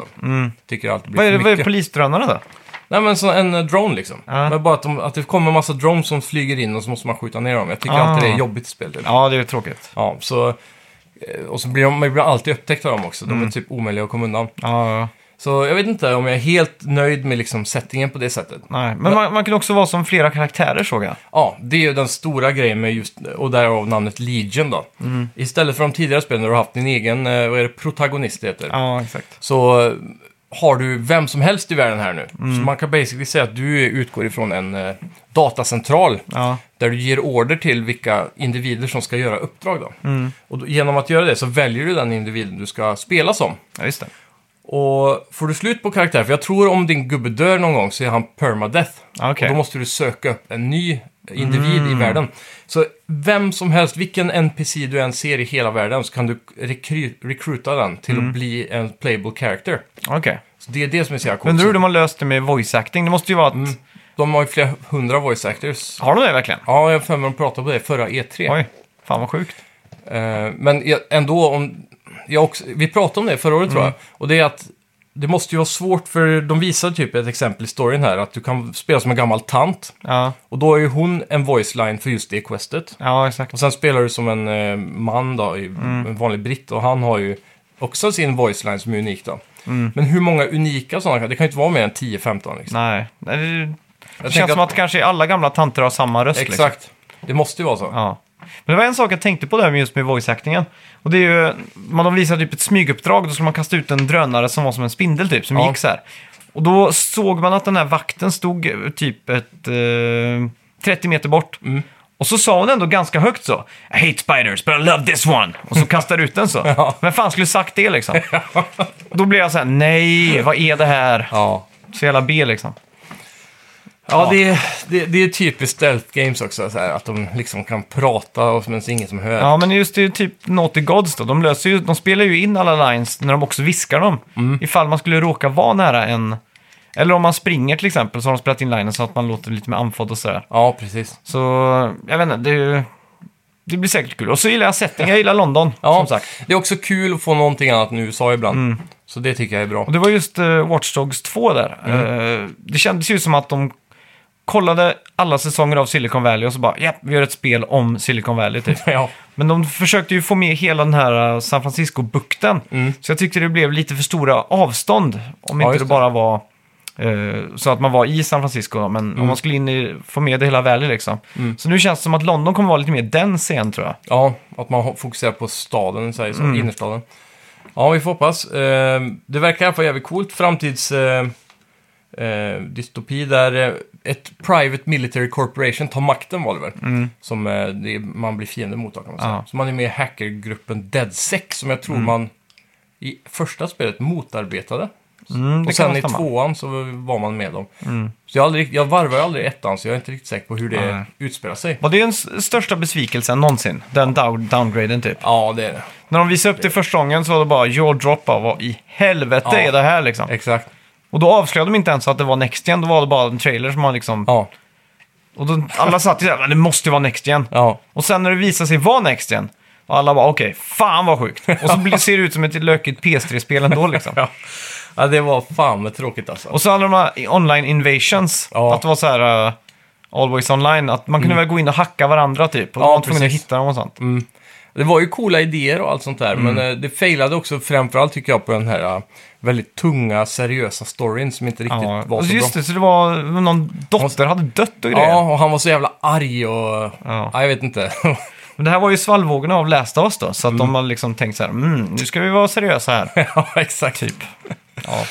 Speaker 2: Tycker allt blir
Speaker 1: Mm. Vad är,
Speaker 2: för
Speaker 1: det- vad
Speaker 2: mycket.
Speaker 1: är polisdrönarna då?
Speaker 2: Nej, men så en eh, drone liksom.
Speaker 1: Ja.
Speaker 2: Men bara att, de, att det kommer en massa drones som flyger in och så måste man skjuta ner dem. Jag tycker
Speaker 1: Ah.
Speaker 2: alltid det är jobbigt i spel. Typ.
Speaker 1: Ja, det är ju tråkigt.
Speaker 2: Ja, så... eh, Och så blir de, man blir alltid upptäckt av dem också.
Speaker 1: Mm.
Speaker 2: De är typ omöjliga att komma undan.
Speaker 1: Ja, ja.
Speaker 2: Så jag vet inte om jag är helt nöjd med liksom settingen på det sättet.
Speaker 1: Nej, men man, man kan också vara som flera karaktärer såg jag.
Speaker 2: Ja, det är ju den stora grejen med just, och därav namnet Legion då.
Speaker 1: Mm.
Speaker 2: Istället för de tidigare spelen där du har haft din egen, eh, vad är det, protagonist det heter.
Speaker 1: Ja, exakt.
Speaker 2: Så eh, har du vem som helst i världen här nu.
Speaker 1: Mm.
Speaker 2: Så man kan basically säga att du utgår ifrån en eh, datacentral.
Speaker 1: Ja,
Speaker 2: Där du ger order till vilka individer som ska göra uppdrag då.
Speaker 1: Mm.
Speaker 2: Och då, genom att göra det så väljer du den individen du ska spela som.
Speaker 1: ja just det.
Speaker 2: Och får du slut på karaktär, för jag tror om din gubbe dör någon gång så är han permadeath.
Speaker 1: Ah, okej. Mm.
Speaker 2: Och då måste du söka upp en ny individ i världen. Så vem som helst, vilken NPC du än ser i hela världen så kan du rekry- rekryta den till
Speaker 1: Mm.
Speaker 2: att bli en playable character.
Speaker 1: Okej.
Speaker 2: Så det är det som är så jävla coolt.
Speaker 1: Undrar hur de har löst det med voice acting. Det måste ju vara att...
Speaker 2: De har ju flera hundra voice actors.
Speaker 1: Har de det verkligen?
Speaker 2: Ja, jag har för mig att de pratade på det förra E E3.
Speaker 1: Oj, fan vad sjukt.
Speaker 2: Eh, men jag, ändå, om, jag också, vi pratade om det förra året tror jag. Och det är att det måste ju vara svårt för de visar typ ett exempel i storyn här att du kan spela som en gammal tant.
Speaker 1: Ja,
Speaker 2: Och då är ju hon en voice line för just det questet.
Speaker 1: ja exakt.
Speaker 2: Och sen spelar du som en eh, man då, i- en vanlig britt. Och han har ju också sin voice line som är unik då. Men hur många unika sådana? Det kan ju inte vara mer än 10-15 liksom.
Speaker 1: Nej. Nej, Det, det
Speaker 2: tänker
Speaker 1: känns som
Speaker 2: att-
Speaker 1: att, kanske alla gamla tanter har samma röst. liksom.
Speaker 2: Exakt. Det måste ju vara så.
Speaker 1: Ja. Men det var en sak jag tänkte på där med just med voice-actingen. Och det är ju, man de visade typ ett smyguppdrag, då skulle man kasta ut en drönare som var som en spindel typ, som
Speaker 2: Ja.
Speaker 1: gick så här. Och då såg man att den här vakten stod eh, typ ett, eh, 30 meter bort.
Speaker 2: Mm.
Speaker 1: Och så sa hon ändå ganska högt så, I hate spiders but I love this one. Och så kastade ut den så.
Speaker 2: Ja.
Speaker 1: Vem fan skulle sagt det liksom? då blev jag så här, nej, vad är det här?
Speaker 2: Ja.
Speaker 1: Så jävla B liksom.
Speaker 2: Ja, det är, det, det är typiskt stealth games också, så här, att de liksom kan prata och men så är ingen som hör.
Speaker 1: Ja, men just det är typ Naughty Gods då. De, löser ju, de spelar ju in alla lines när de också viskar dem. Ifall man skulle råka vara nära en... Eller om man springer till exempel så har de spelat in linen så att man låter lite mer andfådd och sådär.
Speaker 2: Ja, precis.
Speaker 1: Så, jag vet inte, det, är ju- det blir säkert kul. Och så gillar jag setting, jag gillar London,
Speaker 2: Ja,
Speaker 1: som sagt. Mm.
Speaker 2: Det är också kul att få någonting annat än USA ibland. Så det tycker jag är bra.
Speaker 1: Och det var just uh, Watch Dogs 2 där. Eh, det kändes ju som att de kollade alla säsonger av Silicon Valley och så bara, ja, vi gör ett spel om Silicon Valley typ.
Speaker 2: Ja,
Speaker 1: Men de försökte ju få med hela den här eh, San Francisco-bukten. Så jag tyckte det blev lite för stora avstånd. Om
Speaker 2: Mm.
Speaker 1: inte
Speaker 2: Ja, just
Speaker 1: det
Speaker 2: det.
Speaker 1: bara var eh, så att man var i San Francisco. då. Men
Speaker 2: Mm.
Speaker 1: om man skulle in i, få med det hela Valley liksom. Så nu känns det som att London kommer vara lite mer den scen tror jag.
Speaker 2: ja att man ho- fokuserar på staden, så här,
Speaker 1: Mm.
Speaker 2: så, innerstaden. Ja, vi får hoppas. Eh, det verkar i alla fall jävligt coolt. Framtids... Eh, eh, dystopi där eh, ett Private Military Corporation tar makten var det väl? Som eh, det, är- man blir fiende mot då, kan man säga.
Speaker 1: Mm. Ja.
Speaker 2: Så man är med i hackergruppen DeadSec som jag tror man i första spelet motarbetade.
Speaker 1: Mm, det
Speaker 2: Och sen
Speaker 1: kan
Speaker 2: i
Speaker 1: stämma. Mm.
Speaker 2: tvåan så var man med dem. Så jag, har aldrig, jag varvar ju aldrig ettan så jag är inte riktigt säker på hur det
Speaker 1: Nej.
Speaker 2: utspelar sig.
Speaker 1: Var det den s- största besvikelsen någonsin? Den down downgraden typ.
Speaker 2: Ja, det är det.
Speaker 1: När de visade upp det första gången så var det bara jaw drop av vad i helvete
Speaker 2: Ja.
Speaker 1: är det här liksom?
Speaker 2: Exakt.
Speaker 1: Och då avslöjade de inte ens att det var Next Gen, då var det bara en trailer som man liksom...
Speaker 2: Ja,
Speaker 1: Och då, alla satt ju såhär, men det måste ju vara Next Gen.
Speaker 2: ja.
Speaker 1: Och sen när det visar sig vara Next Gen, och alla bara okej, fan vad sjukt. Och så blir- ser det ut som ett lökigt PS3-spel ändå liksom.
Speaker 2: ja. Ja, det var fan vad tråkigt alltså.
Speaker 1: Och så alla de här ah, online invasions,
Speaker 2: Ja. Mm.
Speaker 1: att det var så här uh, always online, att man kunde väl gå in och hacka varandra typ. Och
Speaker 2: Ja,
Speaker 1: man var tvungen att
Speaker 2: precis. Mm,
Speaker 1: hitta dem och sånt.
Speaker 2: Det var ju coola idéer och allt sånt där,
Speaker 1: Mm.
Speaker 2: men eh, det failade också framförallt tycker jag på den här eh, väldigt tunga, seriösa storyn som inte riktigt
Speaker 1: Ja.
Speaker 2: var
Speaker 1: Och
Speaker 2: så
Speaker 1: just
Speaker 2: bra.
Speaker 1: det, så det var någon dotter hade dött och grejer.
Speaker 2: Ja, och han var så jävla arg och... Ja. jag vet inte.
Speaker 1: Men det här var ju svallvågorna av Last of Us då,
Speaker 2: Mm.
Speaker 1: så att de har liksom tänkt så här, mm, nu ska vi vara seriösa här.
Speaker 2: ja, exakt.
Speaker 1: typ. Ja.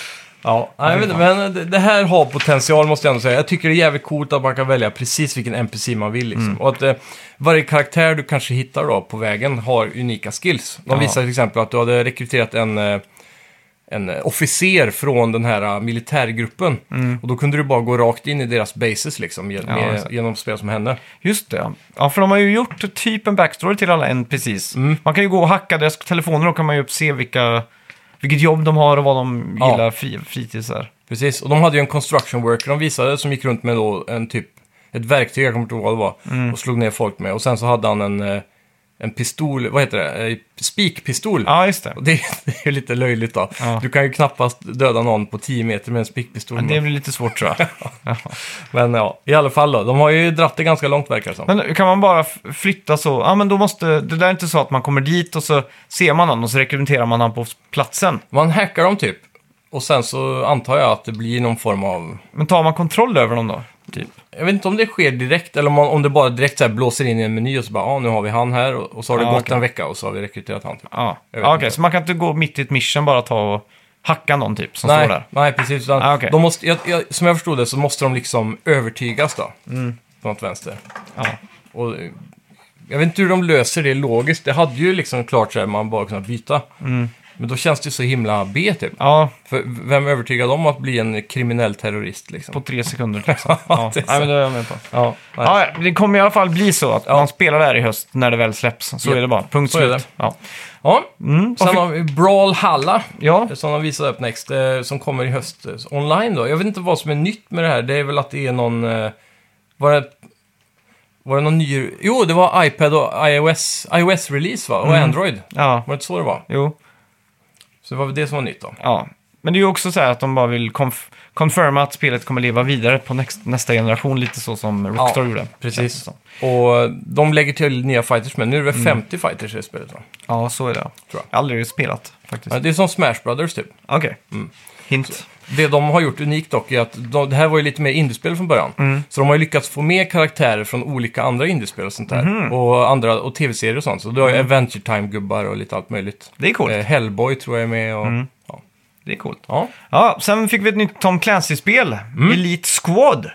Speaker 2: Ja, jag vet inte, men det- det här har potential måste jag ändå säga. Jag tycker det är jävligt coolt att man kan välja precis vilken NPC man vill. Liksom.
Speaker 1: Mm.
Speaker 2: Och att eh, varje karaktär du kanske hittar då på vägen har unika skills. De
Speaker 1: Ja.
Speaker 2: visar till exempel att du hade rekryterat en, eh, en eh, officer från den här eh, militärgruppen. Och då kunde du bara gå rakt in i deras bases liksom, gen-
Speaker 1: Mm. Ja,
Speaker 2: med,
Speaker 1: exakt.
Speaker 2: genom spel som hände.
Speaker 1: Just det. ja. Ja, för de har ju gjort typ en backstory till alla NPCs.
Speaker 2: Mm.
Speaker 1: Man kan ju gå och hacka deras telefoner och kan man ju se vilka, vilket jobb de har och vad de
Speaker 2: Ja.
Speaker 1: gillar fri, fritidsar.
Speaker 2: Precis, och de hade ju en construction worker de visade som gick runt med då en typ, ett verktyg, jag kommer inte ihåg vad det var,
Speaker 1: Mm.
Speaker 2: och slog ner folk med. Och sen så hade han en, eh, en pistol, vad heter det, Eh, spikpistol.
Speaker 1: Ja, just det.
Speaker 2: Och det, det är ju lite löjligt då.
Speaker 1: Ja.
Speaker 2: Du kan ju knappast döda någon på 10 meter med en spikpistol.
Speaker 1: Men
Speaker 2: Men,
Speaker 1: det blir lite svårt tror jag. Ja.
Speaker 2: men ja, i alla fall då. De har ju dratt det ganska långt verkar det som.
Speaker 1: Men kan man bara f- flytta så? Ja, men då måste... Det där är inte så att man kommer dit och så ser man honom och så rekryterar man honom på platsen.
Speaker 2: Man hackar dem typ. Och sen så antar jag att det blir någon form av...
Speaker 1: Men tar man kontroll över dem då? Typ.
Speaker 2: Jag vet inte om det sker direkt eller om, man, om det bara direkt så här blåser in i en meny och så bara, ah, nu har vi han här och, och så har det
Speaker 1: Ja,
Speaker 2: gått
Speaker 1: okej.
Speaker 2: en vecka och så har vi rekryterat han. Typ.
Speaker 1: Ja,
Speaker 2: Jag
Speaker 1: ja
Speaker 2: vet
Speaker 1: okej.
Speaker 2: inte.
Speaker 1: Så man kan inte gå mitt i ett mission bara ta och hacka någon typ som
Speaker 2: nej,
Speaker 1: står där?
Speaker 2: Nej, precis. Utan
Speaker 1: Ah, okej.
Speaker 2: de måste, jag, jag, som jag förstod det så måste de liksom övertygas då. På något vänster.
Speaker 1: Mm. Ja.
Speaker 2: Och, eh, jag vet inte hur de löser det logiskt. Det hade ju liksom klart sig att man bara kunnat byta. Men då känns det ju så himla B typ.
Speaker 1: Mm. ja,
Speaker 2: För vem övertygar dem att bli en kriminell terrorist liksom?
Speaker 1: på tre sekunder. Liksom. Ja,
Speaker 2: det är
Speaker 1: nej,
Speaker 2: så.
Speaker 1: men det är jag med på.
Speaker 2: Ja, nej.
Speaker 1: Ja, ja, det kommer i alla fall bli så att man spelar det här i höst när det väl släpps. Så
Speaker 2: Ja.
Speaker 1: är det bara. Punkt
Speaker 2: Så är
Speaker 1: slut.
Speaker 2: det.
Speaker 1: Ja.
Speaker 2: ja. Sen
Speaker 1: varför-
Speaker 2: har vi Brawlhalla.
Speaker 1: Mm, Ja.
Speaker 2: Som de visade upp next, eh, som kommer i höst eh, online då. Jag vet inte vad som är nytt med det här. Det är väl att det är någon... eh, Var det, var det någon ny... Jo, det var iPad och iOS, iOS-release va? Och Android.
Speaker 1: Mm. ja,
Speaker 2: Var det inte så det var?
Speaker 1: jo.
Speaker 2: Så det var väl det som var nytt då.
Speaker 1: Ja. Men det är ju också så här att de bara vill konf- confirma att spelet kommer leva vidare på näst, nästa generation, lite så som Rockstar gjorde.
Speaker 2: precis. Och de lägger till nya fighters, men nu är det
Speaker 1: Mm.
Speaker 2: väl 50 fighters i det spelet va?
Speaker 1: Ja, så är det.
Speaker 2: Tror
Speaker 1: jag har aldrig spelat faktiskt.
Speaker 2: Ja, Det är som Smash Brothers typ.
Speaker 1: Okej. Hint.
Speaker 2: Det de har gjort unikt dock är att de, det här var ju lite mer indiespel från början.
Speaker 1: Mm.
Speaker 2: Så de har ju lyckats få med karaktärer från olika andra indiespel och sånt där.
Speaker 1: Mhm.
Speaker 2: Och andra och tv-serier och sånt. Så du har ju Adventure Time-gubbar och lite allt möjligt.
Speaker 1: Mm. Det är coolt. Mm.
Speaker 2: Eh, Hellboy tror jag är med och... Ja.
Speaker 1: Det är coolt.
Speaker 2: ja.
Speaker 1: Ja, sen fick vi ett nytt Tom Clancy-spel,
Speaker 2: Mm.
Speaker 1: Elite Squad.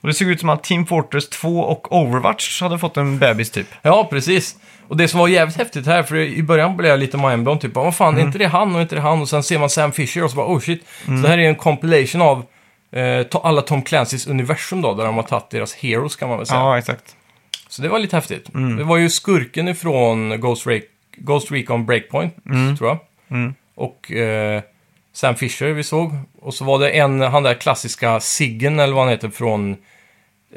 Speaker 1: Och det såg ut som att Team Fortress 2 och Overwatch hade fått en bebis typ.
Speaker 2: Ja, precis. Och det som var jävligt häftigt här, för i början blev jag lite mindblown, typ vad fan, är
Speaker 1: Mm.
Speaker 2: inte det han och inte det han? Och sen ser man Sam Fisher och så bara oh shit. Så det här är ju en compilation av eh, to- alla Tom Clancys universum då, där de har tagit deras heroes kan man väl säga.
Speaker 1: Ja, exakt.
Speaker 2: Så det var lite häftigt.
Speaker 1: Mm.
Speaker 2: Det var ju skurken ifrån Ghost, Re- Ghost Recon Breakpoint,
Speaker 1: Mm.
Speaker 2: tror jag. Och eh, Sam Fisher vi såg. Och så var det en, han där klassiska Siggen, eller vad han heter, från...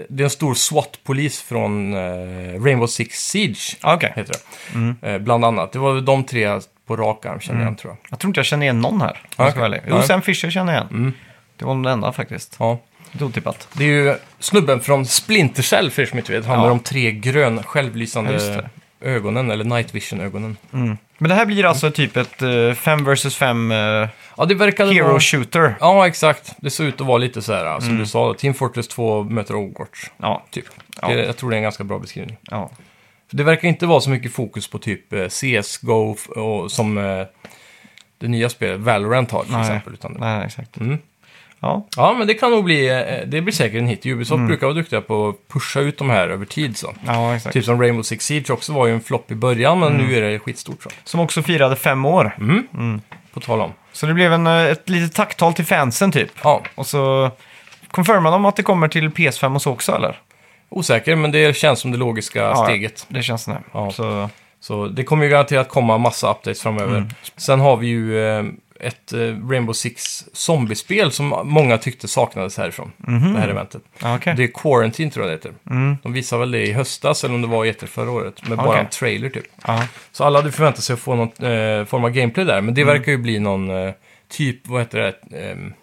Speaker 2: Det är en stor SWAT-polis från eh, Rainbow Six Siege,
Speaker 1: Ja, Okej.
Speaker 2: heter det.
Speaker 1: Mm.
Speaker 2: Eh, bland annat. Det var väl de tre på rak arm, kände jag, tror jag.
Speaker 1: Jag tror inte jag känner igen någon här. om jag ska
Speaker 2: Okej. Mm.
Speaker 1: vara ärlig. Jo,
Speaker 2: Nej.
Speaker 1: Sam Fisher känner jag igen. Det var den enda faktiskt.
Speaker 2: Ja.
Speaker 1: Lite otippat.
Speaker 2: Det är ju snubben från Splinter Cell, för er som inte vet. Han
Speaker 1: Ja.
Speaker 2: med de tre grön,
Speaker 1: Ja, just det.
Speaker 2: självlysande ögonen, eller night vision-ögonen.
Speaker 1: Men det här blir alltså typ ett 5 vs 5
Speaker 2: Mm. Ja, det verkade
Speaker 1: eh, hero
Speaker 2: vara-
Speaker 1: shooter.
Speaker 2: Ja, exakt. Det såg ut att vara lite så här, som
Speaker 1: Mm.
Speaker 2: du sa, Team Fortress 2 möter Overwatch.
Speaker 1: Ja,
Speaker 2: Typ.
Speaker 1: Ja.
Speaker 2: Det, jag tror det är en ganska bra beskrivning.
Speaker 1: ja.
Speaker 2: För det verkar inte vara så mycket fokus på typ eh, CSGO f- och, som eh, det nya spelet Valorant har till
Speaker 1: Nej.
Speaker 2: exempel. Utan
Speaker 1: Nej, nej, exakt.
Speaker 2: Mm.
Speaker 1: Ja,
Speaker 2: Ja, men det kan nog bli, eh, det blir säkert en hit. Ubisoft brukar vara duktiga på att pusha ut de här över tid så.
Speaker 1: Mm. ja, exakt. Mm.
Speaker 2: Typ som Rainbow Six Siege också var ju en flopp i början, men nu är det skitstort så.
Speaker 1: Som också firade fem år.
Speaker 2: Mm. På tal om.
Speaker 1: Så det blev en, eh, ett litet tacktal till fansen typ.
Speaker 2: Ja,
Speaker 1: Och så confirmade de att det kommer till PS5 och så också eller?
Speaker 2: osäker, men det känns som det logiska
Speaker 1: Ja,
Speaker 2: steget.
Speaker 1: Det känns det.
Speaker 2: Ja.
Speaker 1: Så,
Speaker 2: Så det kommer ju garanterat komma massa updates framöver.
Speaker 1: Mm.
Speaker 2: Sen har vi ju eh, ett eh, Rainbow Six zombiespel som många tyckte saknades härifrån. Det här eventet.
Speaker 1: ja, Mhm. okej. Mm.
Speaker 2: Det är Quarantine tror jag det heter. De visade väl det i höstas eller om det var i E3 förra året. Med bara
Speaker 1: Okej.
Speaker 2: en trailer typ.
Speaker 1: Ja.
Speaker 2: Så alla hade förväntat sig att få någon eh, form av gameplay där. Men det
Speaker 1: Mm.
Speaker 2: verkar ju bli någon eh, typ, vad heter det? Ehm,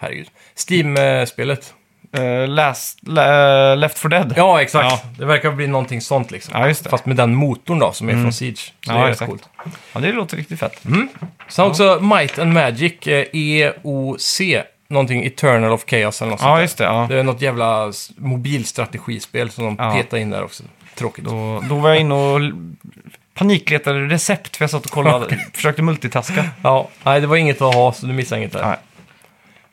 Speaker 2: herregud. Steam-spelet.
Speaker 1: Eh, last, le, left for dead.
Speaker 2: Ja, exakt.
Speaker 1: Ja.
Speaker 2: Det verkar bli någonting sånt liksom.
Speaker 1: Ja, just det. Mm.
Speaker 2: Fast med den motorn då som är från Siege. Så
Speaker 1: Ja,
Speaker 2: det är rätt
Speaker 1: exakt.
Speaker 2: coolt.
Speaker 1: Ja, det låter riktigt fett.
Speaker 2: Mm. Sen också Might and Magic, eh, EOC, någonting Eternal of Chaos eller något sånt
Speaker 1: Ja,
Speaker 2: där.
Speaker 1: just det. Ja.
Speaker 2: Det är något jävla s- mobilstrategispel som de
Speaker 1: Ja.
Speaker 2: petar in där också. Tråkigt.
Speaker 1: Då, då var jag inne och l- panikletade recept för jag satt och kollade, försökte multitaska.
Speaker 2: Ja, nej det var inget att ha så du missade inget där.
Speaker 1: Nej.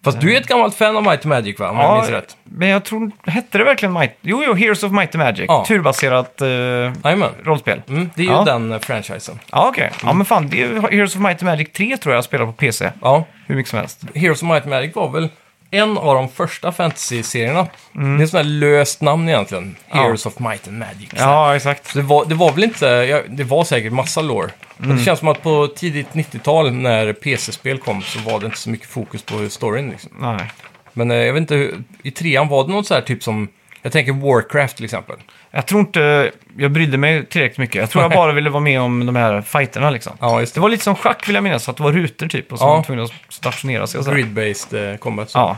Speaker 2: Fast du är ett gammalt fan av Might and Magic va? Om jag minns rätt.
Speaker 1: men jag tror, hette det verkligen Might? Jo, jo, Heroes of Might and Magic.
Speaker 2: Ja.
Speaker 1: Turbaserat eh,
Speaker 2: Jajamän.
Speaker 1: rollspel.
Speaker 2: Mm, det är ju
Speaker 1: Ja.
Speaker 2: den eh, franchisen.
Speaker 1: Ja, okej. Ja, men fan, det är ju Heroes of Might and Magic 3 tror jag jag spelar på PC.
Speaker 2: Ja,
Speaker 1: Hur mycket som helst.
Speaker 2: Heroes of Might and Magic var väl en av de första fantasy-serierna. Det är ett sånt här löst namn egentligen.
Speaker 1: Mm. Ja.
Speaker 2: Heroes of Might and Magic.
Speaker 1: Ja, exakt.
Speaker 2: Så det var, det var väl inte, ja, det var säkert massa lore. Men
Speaker 1: Mm.
Speaker 2: det känns som att på tidigt 90-tal när PC-spel kom så var det inte så mycket fokus på storyn. Liksom.
Speaker 1: Nej.
Speaker 2: Men eh, jag vet inte, hur- i trean var det något så här typ som, jag tänker Warcraft till exempel.
Speaker 1: Jag tror inte jag brydde mig tillräckligt mycket. Jag tror jag
Speaker 2: Nej.
Speaker 1: bara ville vara med om de här fighterna liksom.
Speaker 2: Ja, just
Speaker 1: Det var lite som schack vill jag minnas, att det var rutor typ och så
Speaker 2: Ja.
Speaker 1: var man tvungen att stationera sig och så.
Speaker 2: Grid-based eh, combat. Så.
Speaker 1: Ja,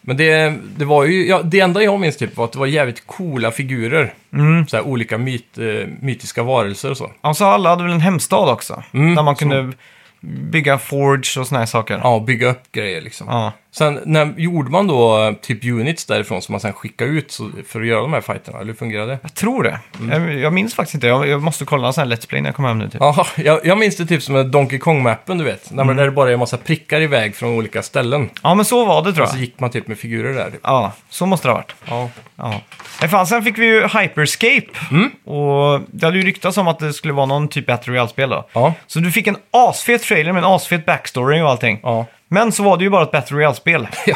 Speaker 2: Men det, det var ju, ja, det enda jag minns typ var att det var jävligt coola figurer.
Speaker 1: Mm.
Speaker 2: Så här olika myt, eh, mytiska varelser och så.
Speaker 1: Ja, så alla hade väl en hemstad också. där man kunde bygga forge och såna här saker.
Speaker 2: Mm, Ja, bygga upp grejer liksom.
Speaker 1: Ja.
Speaker 2: Sen när, gjorde man då eh, typ units därifrån som man sen skickade ut så, för att göra de här fighterna? Eller hur fungerade det?
Speaker 1: Jag tror det. Jag, jag minns faktiskt inte. Jag, jag måste kolla en sån här Let's Play när jag kommer hem nu. Typ.
Speaker 2: Mm. Ja, jag, jag minns det typ som med Donkey Kong-mappen, du vet. När man, Där det bara är en massa prickar iväg från olika ställen.
Speaker 1: Ja, men så var det tror
Speaker 2: Så
Speaker 1: jag.
Speaker 2: gick man typ med figurer där. Typ.
Speaker 1: Ja, så måste det ha varit.
Speaker 2: Ja.
Speaker 1: Ja. Nej, fan, sen fick vi ju Hyperscape.
Speaker 2: Mm.
Speaker 1: Och det hade ju ryktats om att det skulle vara någon typ Battle Royale-spel då.
Speaker 2: Ja.
Speaker 1: Så du fick en asfet trailer med en asfet backstory och allting.
Speaker 2: Ja.
Speaker 1: Men så var det ju bara ett Battle Royale-spel.
Speaker 2: ja.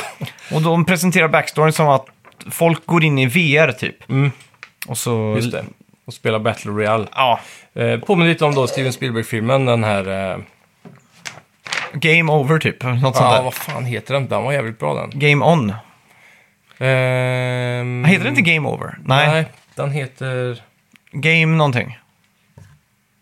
Speaker 1: Och de presenterar backstoryn som att folk går in i VR typ. Och så...
Speaker 2: Mm. Just det. Och spela Battle Royale.
Speaker 1: Ja,
Speaker 2: Eh, påminner lite om då Steven Spielberg-filmen, den här... Eh,
Speaker 1: Game over typ. Något sånt
Speaker 2: ja,
Speaker 1: där.
Speaker 2: vad fan heter den? Den var jävligt bra den.
Speaker 1: Game on.
Speaker 2: Ehm,
Speaker 1: Heter det inte Game over? Nej.
Speaker 2: Nej, den heter...
Speaker 1: Game någonting.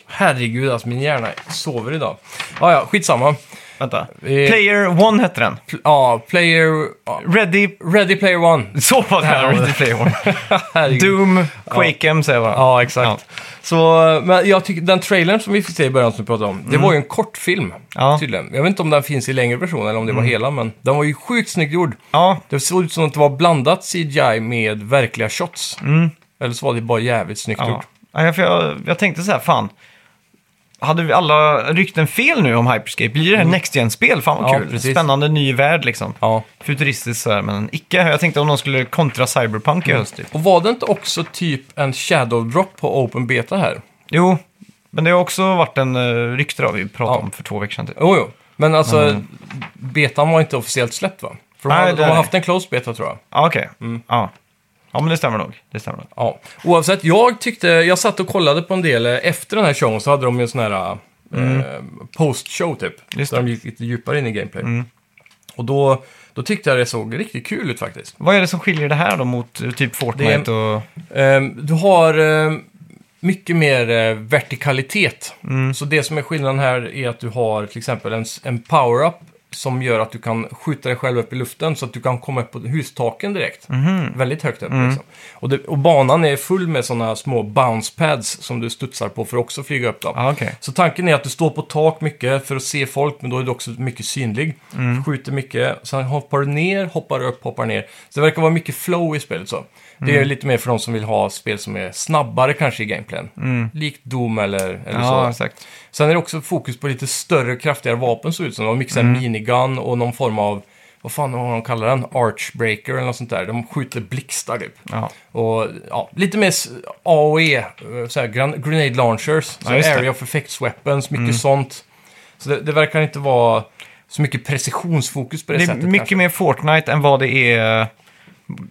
Speaker 2: Herregud, alltså min hjärna sover idag. Ah, ja, skitsamma.
Speaker 1: Vänta.
Speaker 2: Vi-
Speaker 1: Player One hette den.
Speaker 2: Pl- Ja, player... ja,
Speaker 1: Ready...
Speaker 2: Ready Player One.
Speaker 1: Så pass
Speaker 2: Ja,
Speaker 1: här.
Speaker 2: det-
Speaker 1: Ready Player One.
Speaker 2: Herregud.
Speaker 1: Doom, Quakem säger jag bara.
Speaker 2: Ja, exakt. Så, men jag tycker den trailern som vi fick se i början som vi pratade om, det var ju en kortfilm
Speaker 1: Mm. Ja. Mm.
Speaker 2: tydligen. Jag vet inte om den finns i längre version eller om det var hela, men den var ju sjukt snyggt gjord.
Speaker 1: Ja,
Speaker 2: Det såg ut som att det var blandat CGI med verkliga shots. Eller så var det bara jävligt snyggt
Speaker 1: Mm. ja.
Speaker 2: gjort.
Speaker 1: ja. för jag, jag tänkte så här, fan. Hade vi alla rykten fel nu om Hyperscape? Blir det här Next Gen-spel? Fan vad
Speaker 2: Mm. Ja,
Speaker 1: kul.
Speaker 2: precis.
Speaker 1: Spännande ny värld liksom.
Speaker 2: Ja.
Speaker 1: Futuristiskt så här, men icke. Jag tänkte om någon skulle kontra Cyberpunk i höst. Typ.
Speaker 2: Och var det inte också typ en shadow drop på open beta här?
Speaker 1: Jo, men det har också varit en uh, rykte då, vi pratade
Speaker 2: Ja.
Speaker 1: om för två veckor sedan. Typ.
Speaker 2: Jo, jo. Men alltså, betan var inte officiellt släppt va? För de,
Speaker 1: Mm. Nej,
Speaker 2: hade,
Speaker 1: det
Speaker 2: de har
Speaker 1: är-
Speaker 2: haft en closed beta tror jag.
Speaker 1: Ja, okej.
Speaker 2: Mm.
Speaker 1: Ja. ja, men det stämmer nog. Det stämmer nog.
Speaker 2: Ja, oavsett. Jag tyckte, jag satt och kollade på en del eh, efter den här showen så hade de ju en sån här eh, post-show typ.
Speaker 1: Just
Speaker 2: där de gick lite djupare in i gameplay. Och då, då tyckte jag det såg riktigt kul ut faktiskt.
Speaker 1: Vad är det som skiljer det här då mot eh, typ Fortnite och...
Speaker 2: Eh, du har eh, mycket mer eh, vertikalitet. Så det som är skillnaden här är att du har till exempel en, s- en power-up som gör att du kan skjuta dig själv upp i luften så att du kan komma upp på hustaken direkt. Väldigt högt upp. Liksom. Och, det, och banan är full med sådana små bounce pads som du studsar på för att också flyga upp. Då.
Speaker 1: Ja, okej.
Speaker 2: Så tanken är att du står på tak mycket för att se folk, men då är du också mycket synlig. Skjuter mycket, sen hoppar du ner, hoppar upp, hoppar ner. Så det verkar vara mycket flow i spelet så. Det är lite mer för de som vill ha spel som är snabbare kanske i gameplayen. Likt Doom eller, eller
Speaker 1: Ja,
Speaker 2: så.
Speaker 1: exakt.
Speaker 2: Sen är det också fokus på lite större, kraftigare vapen så ut som. De mixar
Speaker 1: Mm.
Speaker 2: minigun och någon form av, vad fan har de kallar den? Archbreaker eller något sånt där. De skjuter blixtar typ.
Speaker 1: Ja.
Speaker 2: Och ja, lite mer s- AOE, eh, så här, gran- grenade launchers, så
Speaker 1: Ja, just det. Mm.
Speaker 2: area of effects weapons, mycket sånt. Så det, det verkar inte vara så mycket precisionsfokus på det,
Speaker 1: Det är
Speaker 2: sättet.
Speaker 1: mycket
Speaker 2: kanske.
Speaker 1: mer Fortnite än vad det är... eh,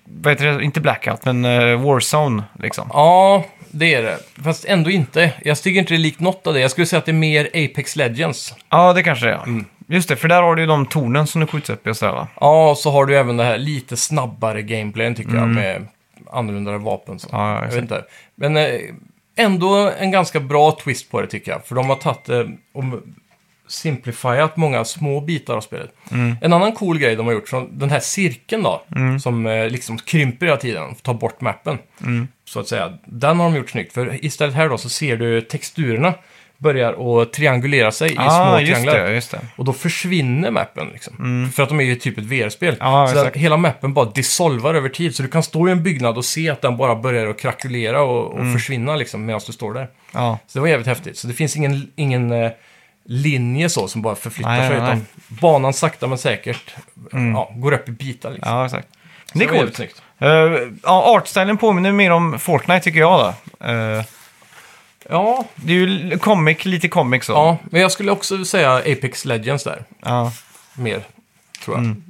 Speaker 1: Vad heter det? Inte Blackout, men eh, Warzone liksom.
Speaker 2: Ja, det är det. Fast ändå inte. Jag tycker inte det är likt något av det. Jag skulle säga att det är mer Apex Legends.
Speaker 1: Ja, det kanske det är.
Speaker 2: Mm.
Speaker 1: Just det, för där har du ju de tornen som du skjuts upp i och sådär va?
Speaker 2: Ja, och så har du även det här lite snabbare gameplayen tycker jag med annorlunda vapen. Så.
Speaker 1: Mm. Ja, ja,
Speaker 2: jag
Speaker 1: exakt.
Speaker 2: vet inte. Men eh, ändå en ganska bra twist på det tycker jag. För de har tagit eh, och simplifierat många små bitar av spelet.
Speaker 1: Mm.
Speaker 2: En annan cool grej de har gjort, så den här cirkeln då, som eh, liksom krymper hela tiden, tar bort mappen.
Speaker 1: Mm.
Speaker 2: Så att säga, den har de gjort snyggt. För istället här då så ser du texturerna börjar att triangulera sig i små
Speaker 1: ah, just
Speaker 2: trianglar.
Speaker 1: det, just det.
Speaker 2: Och då försvinner mappen liksom. För att de är ju typ ett VR-spel.
Speaker 1: Mm. Ja,
Speaker 2: så den,
Speaker 1: exakt.
Speaker 2: hela mappen bara dissolvar över tid. Så du kan stå i en byggnad och se att den bara börjar att krackelera och,
Speaker 1: Mm.
Speaker 2: och försvinna liksom medan du står där.
Speaker 1: Ja.
Speaker 2: Så det var jävligt häftigt. Så det finns ingen, ingen eh, linje så som bara förflyttar
Speaker 1: Nej,
Speaker 2: sig.
Speaker 1: nej, Mm.
Speaker 2: Utan banan sakta men säkert ja, går upp i bitar liksom.
Speaker 1: ja, exakt. Det är
Speaker 2: Så var jävligt
Speaker 1: coolt.
Speaker 2: snyggt.
Speaker 1: Uh, ja, artstylen påminner mer om Fortnite tycker jag då. Eh,
Speaker 2: Ja,
Speaker 1: det är ju l- comic, lite comic så.
Speaker 2: ja, men jag skulle också säga Apex Legends där.
Speaker 1: Ja.
Speaker 2: mer, tror jag.
Speaker 1: Mm.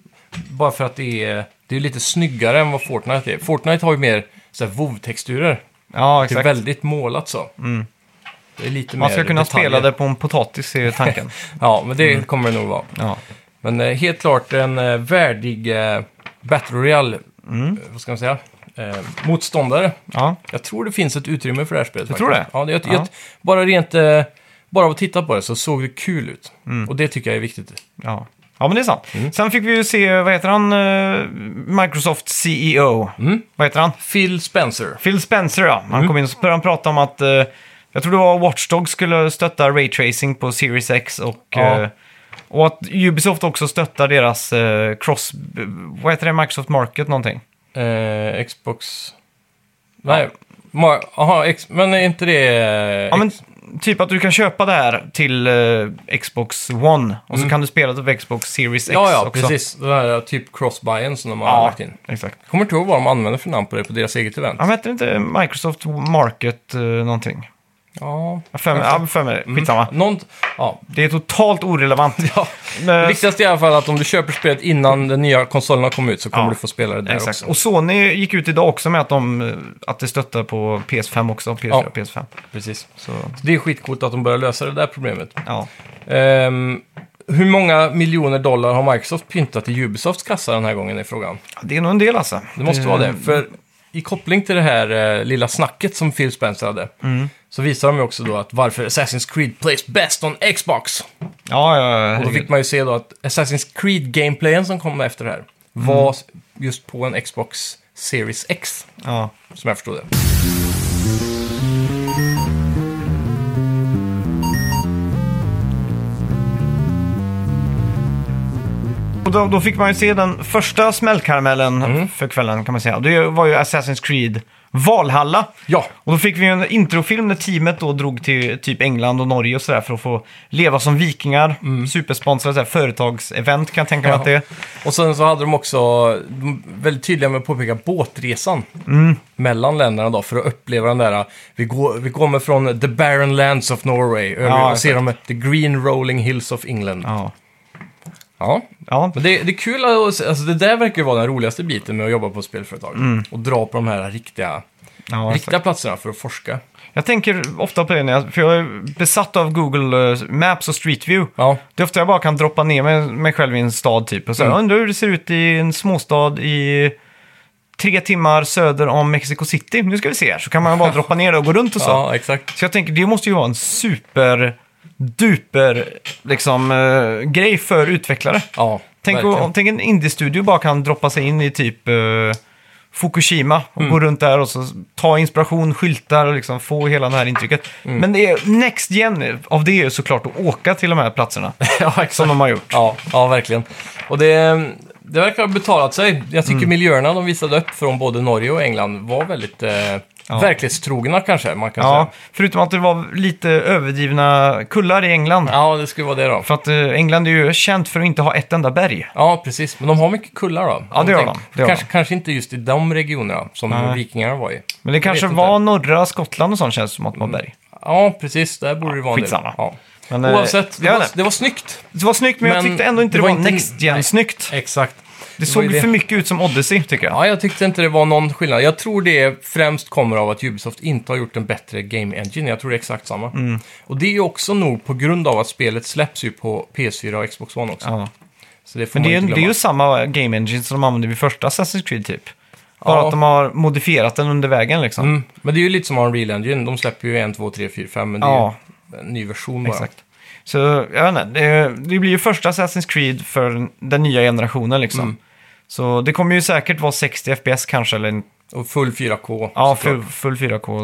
Speaker 2: Bara för att det är, det är lite snyggare än vad Fortnite är. Fortnite har ju mer så här WoW-texturer.
Speaker 1: Ja,
Speaker 2: Det är
Speaker 1: exakt. Mm.
Speaker 2: väldigt målat så. Det är lite
Speaker 1: Man
Speaker 2: mer
Speaker 1: ska kunna
Speaker 2: detaljer.
Speaker 1: spela det på Mm. en potatis är tanken.
Speaker 2: Ja, men det kommer det nog vara.
Speaker 1: ja.
Speaker 2: Men eh, helt klart en eh, värdig eh, Battle Royale, eh, vad ska man säga, eh, motståndare.
Speaker 1: Mm. ja,
Speaker 2: Jag tror det finns ett utrymme för det här spelet. Du
Speaker 1: tror det?
Speaker 2: Ja, det, jag,
Speaker 1: Ja.
Speaker 2: Jag, bara rent, eh, bara av att titta på det så såg det kul ut.
Speaker 1: Mm.
Speaker 2: Och det tycker jag är viktigt.
Speaker 1: ja. Ja, men det är sant.
Speaker 2: Mm.
Speaker 1: Sen fick vi ju se, vad heter han, eh, Microsoft CEO?
Speaker 2: Mm.
Speaker 1: Vad heter han?
Speaker 2: Phil Spencer.
Speaker 1: Phil Spencer, ja. Han
Speaker 2: Mm.
Speaker 1: kom in och så började han prata om att, eh, jag tror det var Watch Dogs skulle stötta Ray Tracing på Series X och,
Speaker 2: Ja.
Speaker 1: eh, och att Ubisoft också stöttar deras eh, cross, b- vad heter det, Microsoft Market någonting?
Speaker 2: Eh, Xbox... Nej. Mar- Aha, ex- men är inte det... eh,
Speaker 1: Ja, men
Speaker 2: Ex-
Speaker 1: typ att du kan köpa det här till eh, Xbox One och så kan du spela det på Xbox Series X
Speaker 2: Mm. ja, ja
Speaker 1: också.
Speaker 2: precis. Den här typ cross-buyen som de har
Speaker 1: Ja,
Speaker 2: lagt in.
Speaker 1: exakt.
Speaker 2: Jag kommer inte ihåg vad de använder för namn på det på deras eget event.
Speaker 1: Han hette inte Microsoft Market eh, någonting?
Speaker 2: Ja.
Speaker 1: Jag för mig- ja, för mig det. Skitsamma.
Speaker 2: Någon... Ja.
Speaker 1: Det är totalt orelevant.
Speaker 2: Mm. ja. Det
Speaker 1: Men-
Speaker 2: viktigaste är i alla fall att om du köper spelet innan den nya konsolen har kommit ut så kommer
Speaker 1: Ja,
Speaker 2: du få spela det där
Speaker 1: Exakt.
Speaker 2: också.
Speaker 1: Och Sony gick ut idag också med att, de, eh, att det stöttar på PS5 också, PS4
Speaker 2: Ja.
Speaker 1: och PS5.
Speaker 2: Precis.
Speaker 1: Så,
Speaker 2: Det är skitcoolt att de börjar lösa det där problemet.
Speaker 1: ja.
Speaker 2: Ehm, hur många miljoner dollar har Microsoft pyntat i Ubisofts kassa den här gången är frågan.
Speaker 1: Det är nog en del alltså.
Speaker 2: Det måste vara det. För i koppling till det här eh, lilla snacket som Phil Spencer hade,
Speaker 1: Mm.
Speaker 2: så visar de ju också då att varför Assassin's Creed plays best on Xbox.
Speaker 1: Ja, ja, ja.
Speaker 2: Och då fick
Speaker 1: herregud.
Speaker 2: man ju se då att Assassin's Creed-gameplayen som kom efter det här var s-
Speaker 1: Mm.
Speaker 2: just på en Xbox Series X,
Speaker 1: ja.
Speaker 2: som jag förstod det.
Speaker 1: Och då, då fick man ju se den första smällkaramellen
Speaker 2: Mm.
Speaker 1: för kvällen kan man säga. Det var ju Assassin's Creed Valhalla.
Speaker 2: Ja,
Speaker 1: Och då fick vi ju en introfilm när teamet då drog till typ England och Norge och sådär för att få leva som vikingar. Supersponsrade sådär, företagsevent kan jag tänka mig
Speaker 2: Mm. Ja.
Speaker 1: att det är.
Speaker 2: och sen så hade de också, de var väldigt tydliga med att påpeka båtresan
Speaker 1: Mm.
Speaker 2: mellan länderna då, för att uppleva den där, vi, går, vi kommer från the barren lands of Norway,
Speaker 1: Ja,
Speaker 2: över och ser de the green rolling hills of England. Ja,
Speaker 1: Ja. Ja.
Speaker 2: men det, det är kul, att, se- alltså det där verkar ju vara den roligaste biten med att jobba på ett spelföretag. Och dra på de här riktiga,
Speaker 1: Mm. ja exakt.
Speaker 2: riktiga platserna för att forska.
Speaker 1: jag tänker ofta på det, när jag, för jag är besatt av Google eh, Maps och Street View.
Speaker 2: Ja,
Speaker 1: Det är ofta jag bara kan droppa ner mig, mig själv i en stad typ. Och så,
Speaker 2: Mm.
Speaker 1: jag undrar hur det ser ut i en småstad i tre timmar söder om Mexico City. Nu ska vi se här. Så kan man bara droppa ner och gå runt och så.
Speaker 2: ja exakt.
Speaker 1: Så jag tänker, det måste ju vara en super duper liksom, eh, grej för utvecklare.
Speaker 2: Ja,
Speaker 1: Tänk,
Speaker 2: verkligen.
Speaker 1: om, tänk en indie-studio bara kan droppa sig in i typ eh, Fukushima och
Speaker 2: Mm.
Speaker 1: gå runt där och så ta inspiration, skyltar och liksom få hela det här intrycket.
Speaker 2: Mm.
Speaker 1: Men det är next gen av det är ju såklart att åka till de här platserna
Speaker 2: ja, exakt.
Speaker 1: som de har gjort.
Speaker 2: Ja, ja verkligen. Och det, det verkar ha betalat sig. Jag tycker
Speaker 1: Mm.
Speaker 2: miljöerna de visade upp från både Norge och England var väldigt eh, verklighetstrogna kanske, man kan
Speaker 1: Ja,
Speaker 2: säga.
Speaker 1: förutom att det var lite överdrivna kullar i England.
Speaker 2: Ja, det skulle vara det då.
Speaker 1: För att eh, England är ju känt för att inte ha ett enda berg.
Speaker 2: Ja, precis. Men de har mycket kullar då.
Speaker 1: Ja, det gör
Speaker 2: tänker-
Speaker 1: de. Det gör
Speaker 2: kanske, kanske inte just i de regionerna som
Speaker 1: Nej.
Speaker 2: vikingarna var i.
Speaker 1: Men det kanske
Speaker 2: vet
Speaker 1: var norra Skottland och sånt känns det som att det var berg.
Speaker 2: Ja, precis. Där borde det vara en del.
Speaker 1: skitsamma.
Speaker 2: Ja.
Speaker 1: Men, eh,
Speaker 2: Oavsett, det
Speaker 1: jag
Speaker 2: var,
Speaker 1: vet inte.
Speaker 2: det var snyggt.
Speaker 1: det var snyggt men, jag
Speaker 2: men
Speaker 1: tyckte ändå inte det var, next gen snyggt.
Speaker 2: Exakt.
Speaker 1: Det
Speaker 2: var ju
Speaker 1: såg för mycket ut som Odyssey tycker jag.
Speaker 2: Ja, jag tyckte inte det var någon skillnad. Jag tror det främst kommer av att Ubisoft inte har gjort en bättre game engine. Jag tror det är exakt samma.
Speaker 1: Mm.
Speaker 2: Och det är ju också nog på grund av att spelet släpps ju på PS4 och Xbox One också.
Speaker 1: Ja.
Speaker 2: Så det får
Speaker 1: Men
Speaker 2: man
Speaker 1: det är, ju-
Speaker 2: inte
Speaker 1: det är
Speaker 2: glömma.
Speaker 1: ju samma game engine som de använde vid första Assassin's Creed typ. Bara
Speaker 2: Ja.
Speaker 1: att de har modifierat den under vägen liksom.
Speaker 2: Mm. Men det är ju lite som Unreal Engine. De släpper ju en, två, tre, fyra, fem. men det
Speaker 1: Ja.
Speaker 2: är ju en ny version bara.
Speaker 1: Exakt. Så jag vet inte, det, det blir ju första Assassin's Creed för den nya generationen liksom.
Speaker 2: Mm.
Speaker 1: Så det kommer ju säkert vara 60 FPS kanske, eller en,
Speaker 2: Och full 4K.
Speaker 1: ja,
Speaker 2: såklart. Mm.
Speaker 1: full, full 4K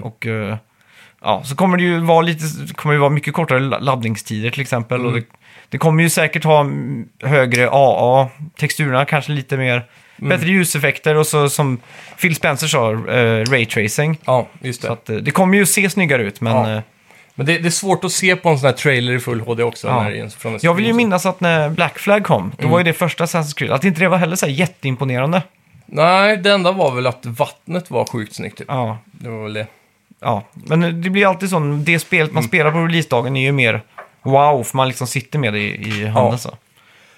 Speaker 1: då. Och eh, ja, så kommer det ju vara lite, det kommer ju vara mycket kortare la- laddningstider till exempel.
Speaker 2: Mm.
Speaker 1: Och det, det kommer ju säkert ha mm, högre AA, texturerna kanske lite mer,
Speaker 2: Mm.
Speaker 1: bättre ljuseffekter och så som Phil Spencer sa, eh, Ray Tracing.
Speaker 2: Ja, just det.
Speaker 1: Så att, eh, det kommer ju se snyggare ut, men...
Speaker 2: Ja.
Speaker 1: eh,
Speaker 2: Men det, det är svårt att se på en sån här trailer i full HD också.
Speaker 1: Ja.
Speaker 2: När det är en- från en
Speaker 1: Jag vill ju
Speaker 2: stream.
Speaker 1: minnas att när Black Flag kom,
Speaker 2: Mm.
Speaker 1: då var ju det första Assassin's Creed, att inte det var heller så här jätteimponerande.
Speaker 2: Nej, det enda var väl att vattnet var sjukt snyggt. Typ.
Speaker 1: Ja,
Speaker 2: Det var väl det.
Speaker 1: ja. men det blir alltid så, det spelet
Speaker 2: Mm.
Speaker 1: man spelar på releasedagen är ju mer wow, för man liksom sitter med det i, i handen.
Speaker 2: Ja.
Speaker 1: Så.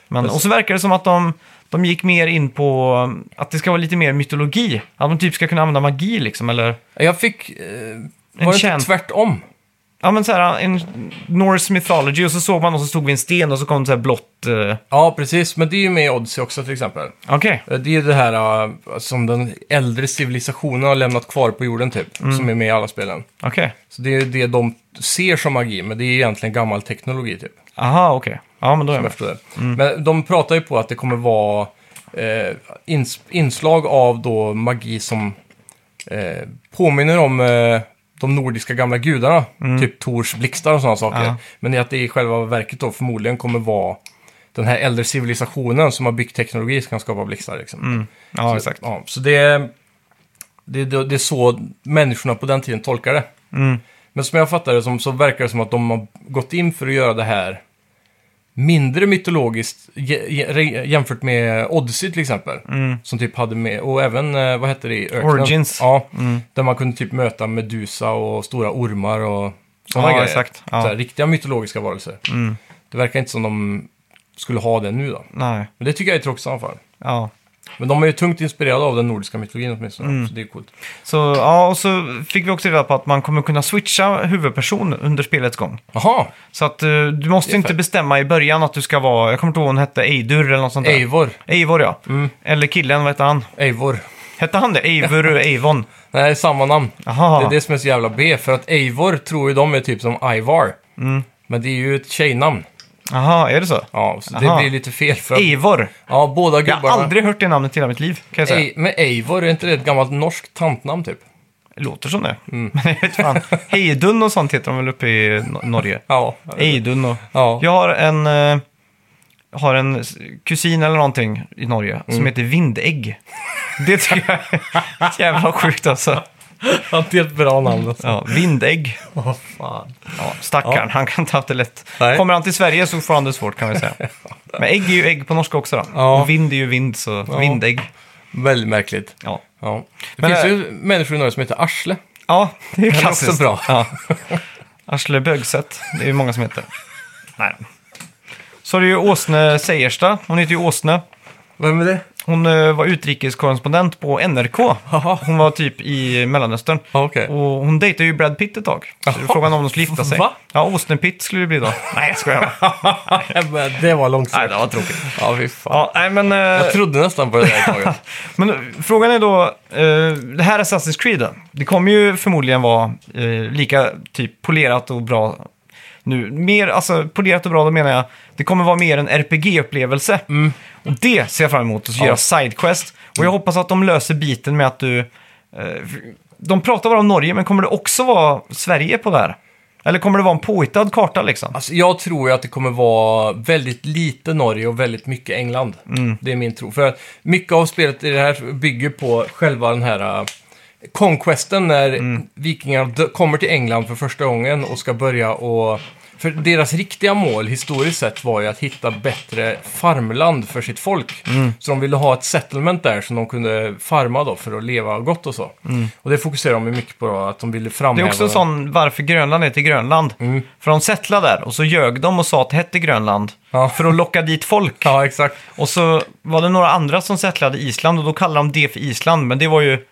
Speaker 1: Men,
Speaker 2: Precis.
Speaker 1: och så verkar det som att de, de gick mer in på um, att det ska vara lite mer mytologi. Att man typ ska kunna använda magi liksom, eller
Speaker 2: Jag fick... Eh, var det
Speaker 1: tjän-
Speaker 2: inte tvärtom?
Speaker 1: ja, men så här, uh, en Norse mythology och så såg man och så stod vi en sten och så kom det så här blått. eh,
Speaker 2: Ja, precis. Men det är ju med i Odyssey också till exempel.
Speaker 1: Okej,
Speaker 2: Eh, Det är ju det här eh, som den äldre civilisationen har lämnat kvar på jorden typ. Som är med i alla spelen.
Speaker 1: okej.
Speaker 2: Så det är ju det de ser som magi, men det är egentligen gammal teknologi typ.
Speaker 1: Aha, okej. Ja, men då är jag
Speaker 2: Som
Speaker 1: med.
Speaker 2: jag förstår det. Men de pratar ju på att det kommer vara eh, ins inslag av då magi som eh, påminner om eh, de nordiska gamla gudarna. Typ Tors blixtar och sådana saker.
Speaker 1: Ja.
Speaker 2: Men att det i själva verket då förmodligen kommer vara den här äldre civilisationen som har byggt teknologi som kan skapa blixtar. Liksom.
Speaker 1: Ja,
Speaker 2: så,
Speaker 1: exakt.
Speaker 2: Ja, så det, det, det, det är så människorna på den tiden tolkar det.
Speaker 1: Mm.
Speaker 2: Men som jag fattar det som, så verkar det som att de har gått in för att göra det här mindre mytologiskt je- je- jämfört med Odyssey till exempel. Som typ hade med, och även, eh, vad hette det, i öknen?
Speaker 1: Mm. Origins. Mm.
Speaker 2: Ja, där man kunde typ möta Medusa och stora ormar och sådana
Speaker 1: Ja,
Speaker 2: grejer.
Speaker 1: exakt. Ja. Mm.
Speaker 2: Så här, riktiga mytologiska varelser. Det verkar inte som de skulle ha det nu då.
Speaker 1: Nej,
Speaker 2: Men det tycker jag är tråkigt i alla fall.
Speaker 1: ja.
Speaker 2: Men de är ju tungt inspirerade av den nordiska mytologin åtminstone, så det är coolt.
Speaker 1: Så, ja, och så fick vi också reda på att man kommer kunna switcha huvudperson under spelets gång.
Speaker 2: Jaha,
Speaker 1: Så att eh, du måste
Speaker 2: Det är
Speaker 1: inte
Speaker 2: fett.
Speaker 1: bestämma i början att du ska vara, jag kommer inte ihåg vad hon hette, Eidur eller något sånt där.
Speaker 2: Eivor.
Speaker 1: Eivor ja. Eller killen, vad hette han?
Speaker 2: Eivor.
Speaker 1: Hette han det? Eivor och Eivon?
Speaker 2: Nej, samma namn.
Speaker 1: Aha.
Speaker 2: Det är det som är så jävla B, för att Eivor tror ju de är typ som Ivar. Men det är ju ett tjejnamn.
Speaker 1: Aha, är det så?
Speaker 2: Ja, så
Speaker 1: Aha.
Speaker 2: det blir lite fel för att...
Speaker 1: Eivor.
Speaker 2: Ja, båda
Speaker 1: Jag har
Speaker 2: gubbarna.
Speaker 1: aldrig hört det namnet i hela mitt liv, kan jag säga.
Speaker 2: Ej, men Eivor, är inte det ett gammalt norskt tantnamn typ?
Speaker 1: Det låter som det.
Speaker 2: Mm.
Speaker 1: Men jag vet fan. Heidun och sånt heter de väl uppe i Nor- Norge?
Speaker 2: Ja.
Speaker 1: Eidun och...
Speaker 2: Ja.
Speaker 1: Jag har en, eh, har en s- kusin eller någonting i Norge
Speaker 2: Mm.
Speaker 1: som heter Vindägg. Det tycker jag är så jävla sjukt alltså.
Speaker 2: Ja, det är ett bra namn alltså.
Speaker 1: Ja, Vindägg.
Speaker 2: Åh, fan.
Speaker 1: Ja, stackarn, han kan inte ha haft det lätt.
Speaker 2: Nej.
Speaker 1: Kommer han till Sverige så får han det svårt kan vi säga. Men ägg är ju ägg på norska också då.
Speaker 2: Ja.
Speaker 1: Och vind är ju vind, så vindägg.
Speaker 2: Väldigt märkligt.
Speaker 1: Ja,
Speaker 2: Ja. Det
Speaker 1: Men,
Speaker 2: finns
Speaker 1: äh,
Speaker 2: ju människor i Norge som heter Arsle.
Speaker 1: ja det är ju
Speaker 2: är
Speaker 1: klassiskt.
Speaker 2: också bra.
Speaker 1: Ja. Arsle Bögset, det är ju många som heter. Nej. Så är det ju Åsne Seiersta, hon heter ju Åsne.
Speaker 2: Vem är det?
Speaker 1: Hon eh, var utrikeskorrespondent på NRK. Hon var typ i Mellanöstern.
Speaker 2: Ja, okej.
Speaker 1: Och hon dejtade ju Brad Pitt ett tag. Så det är frågan om de skulle gifta sig.
Speaker 2: Va?
Speaker 1: Ja, Austin Pitt skulle det bli då. Nej, jag skojar bara.
Speaker 2: men det var
Speaker 1: Nej,
Speaker 2: långsamt.
Speaker 1: det var tråkigt.
Speaker 2: Ja, fy fan.
Speaker 1: Ja, nej, men, eh,
Speaker 2: Jag trodde nästan på det där ett tag. alltså.
Speaker 1: men eh, frågan är då, eh, det här Assassin's Creed, då. det kommer ju förmodligen vara eh, lika typ polerat och bra nu. Mer, alltså polerat och bra, då menar jag, det kommer vara mer en RPG-upplevelse. Och det ser jag fram emot, och så
Speaker 2: Ja.
Speaker 1: göra sidequest. Och jag hoppas att de löser biten med att du... Eh, de pratar bara om Norge, men kommer det också vara Sverige på det här? Eller kommer det vara en påhittad karta liksom?
Speaker 2: Alltså, jag tror ju att det kommer vara väldigt lite Norge och väldigt mycket England.
Speaker 1: Mm.
Speaker 2: Det är min tro. För att mycket av spelet i det här bygger på själva den här äh, conquesten när
Speaker 1: Mm.
Speaker 2: vikingarna dö- kommer till England för första gången och ska börja och... För deras riktiga mål historiskt sett var ju att hitta bättre farmland för sitt folk.
Speaker 1: Mm.
Speaker 2: Så de ville ha ett settlement där som de kunde farma då för att leva gott och så. Och det fokuserar de ju mycket på då, att de ville
Speaker 1: Mm. Det
Speaker 2: framhäva...
Speaker 1: är också en sån varför Grönland heter Grönland. För de settlade där och så ljög de och sa att det hette Grönland.
Speaker 2: Ja.
Speaker 1: För att locka dit folk.
Speaker 2: Ja, exakt.
Speaker 1: Och så var det några andra som settlade Island och då kallade de det för Island. Men det var ju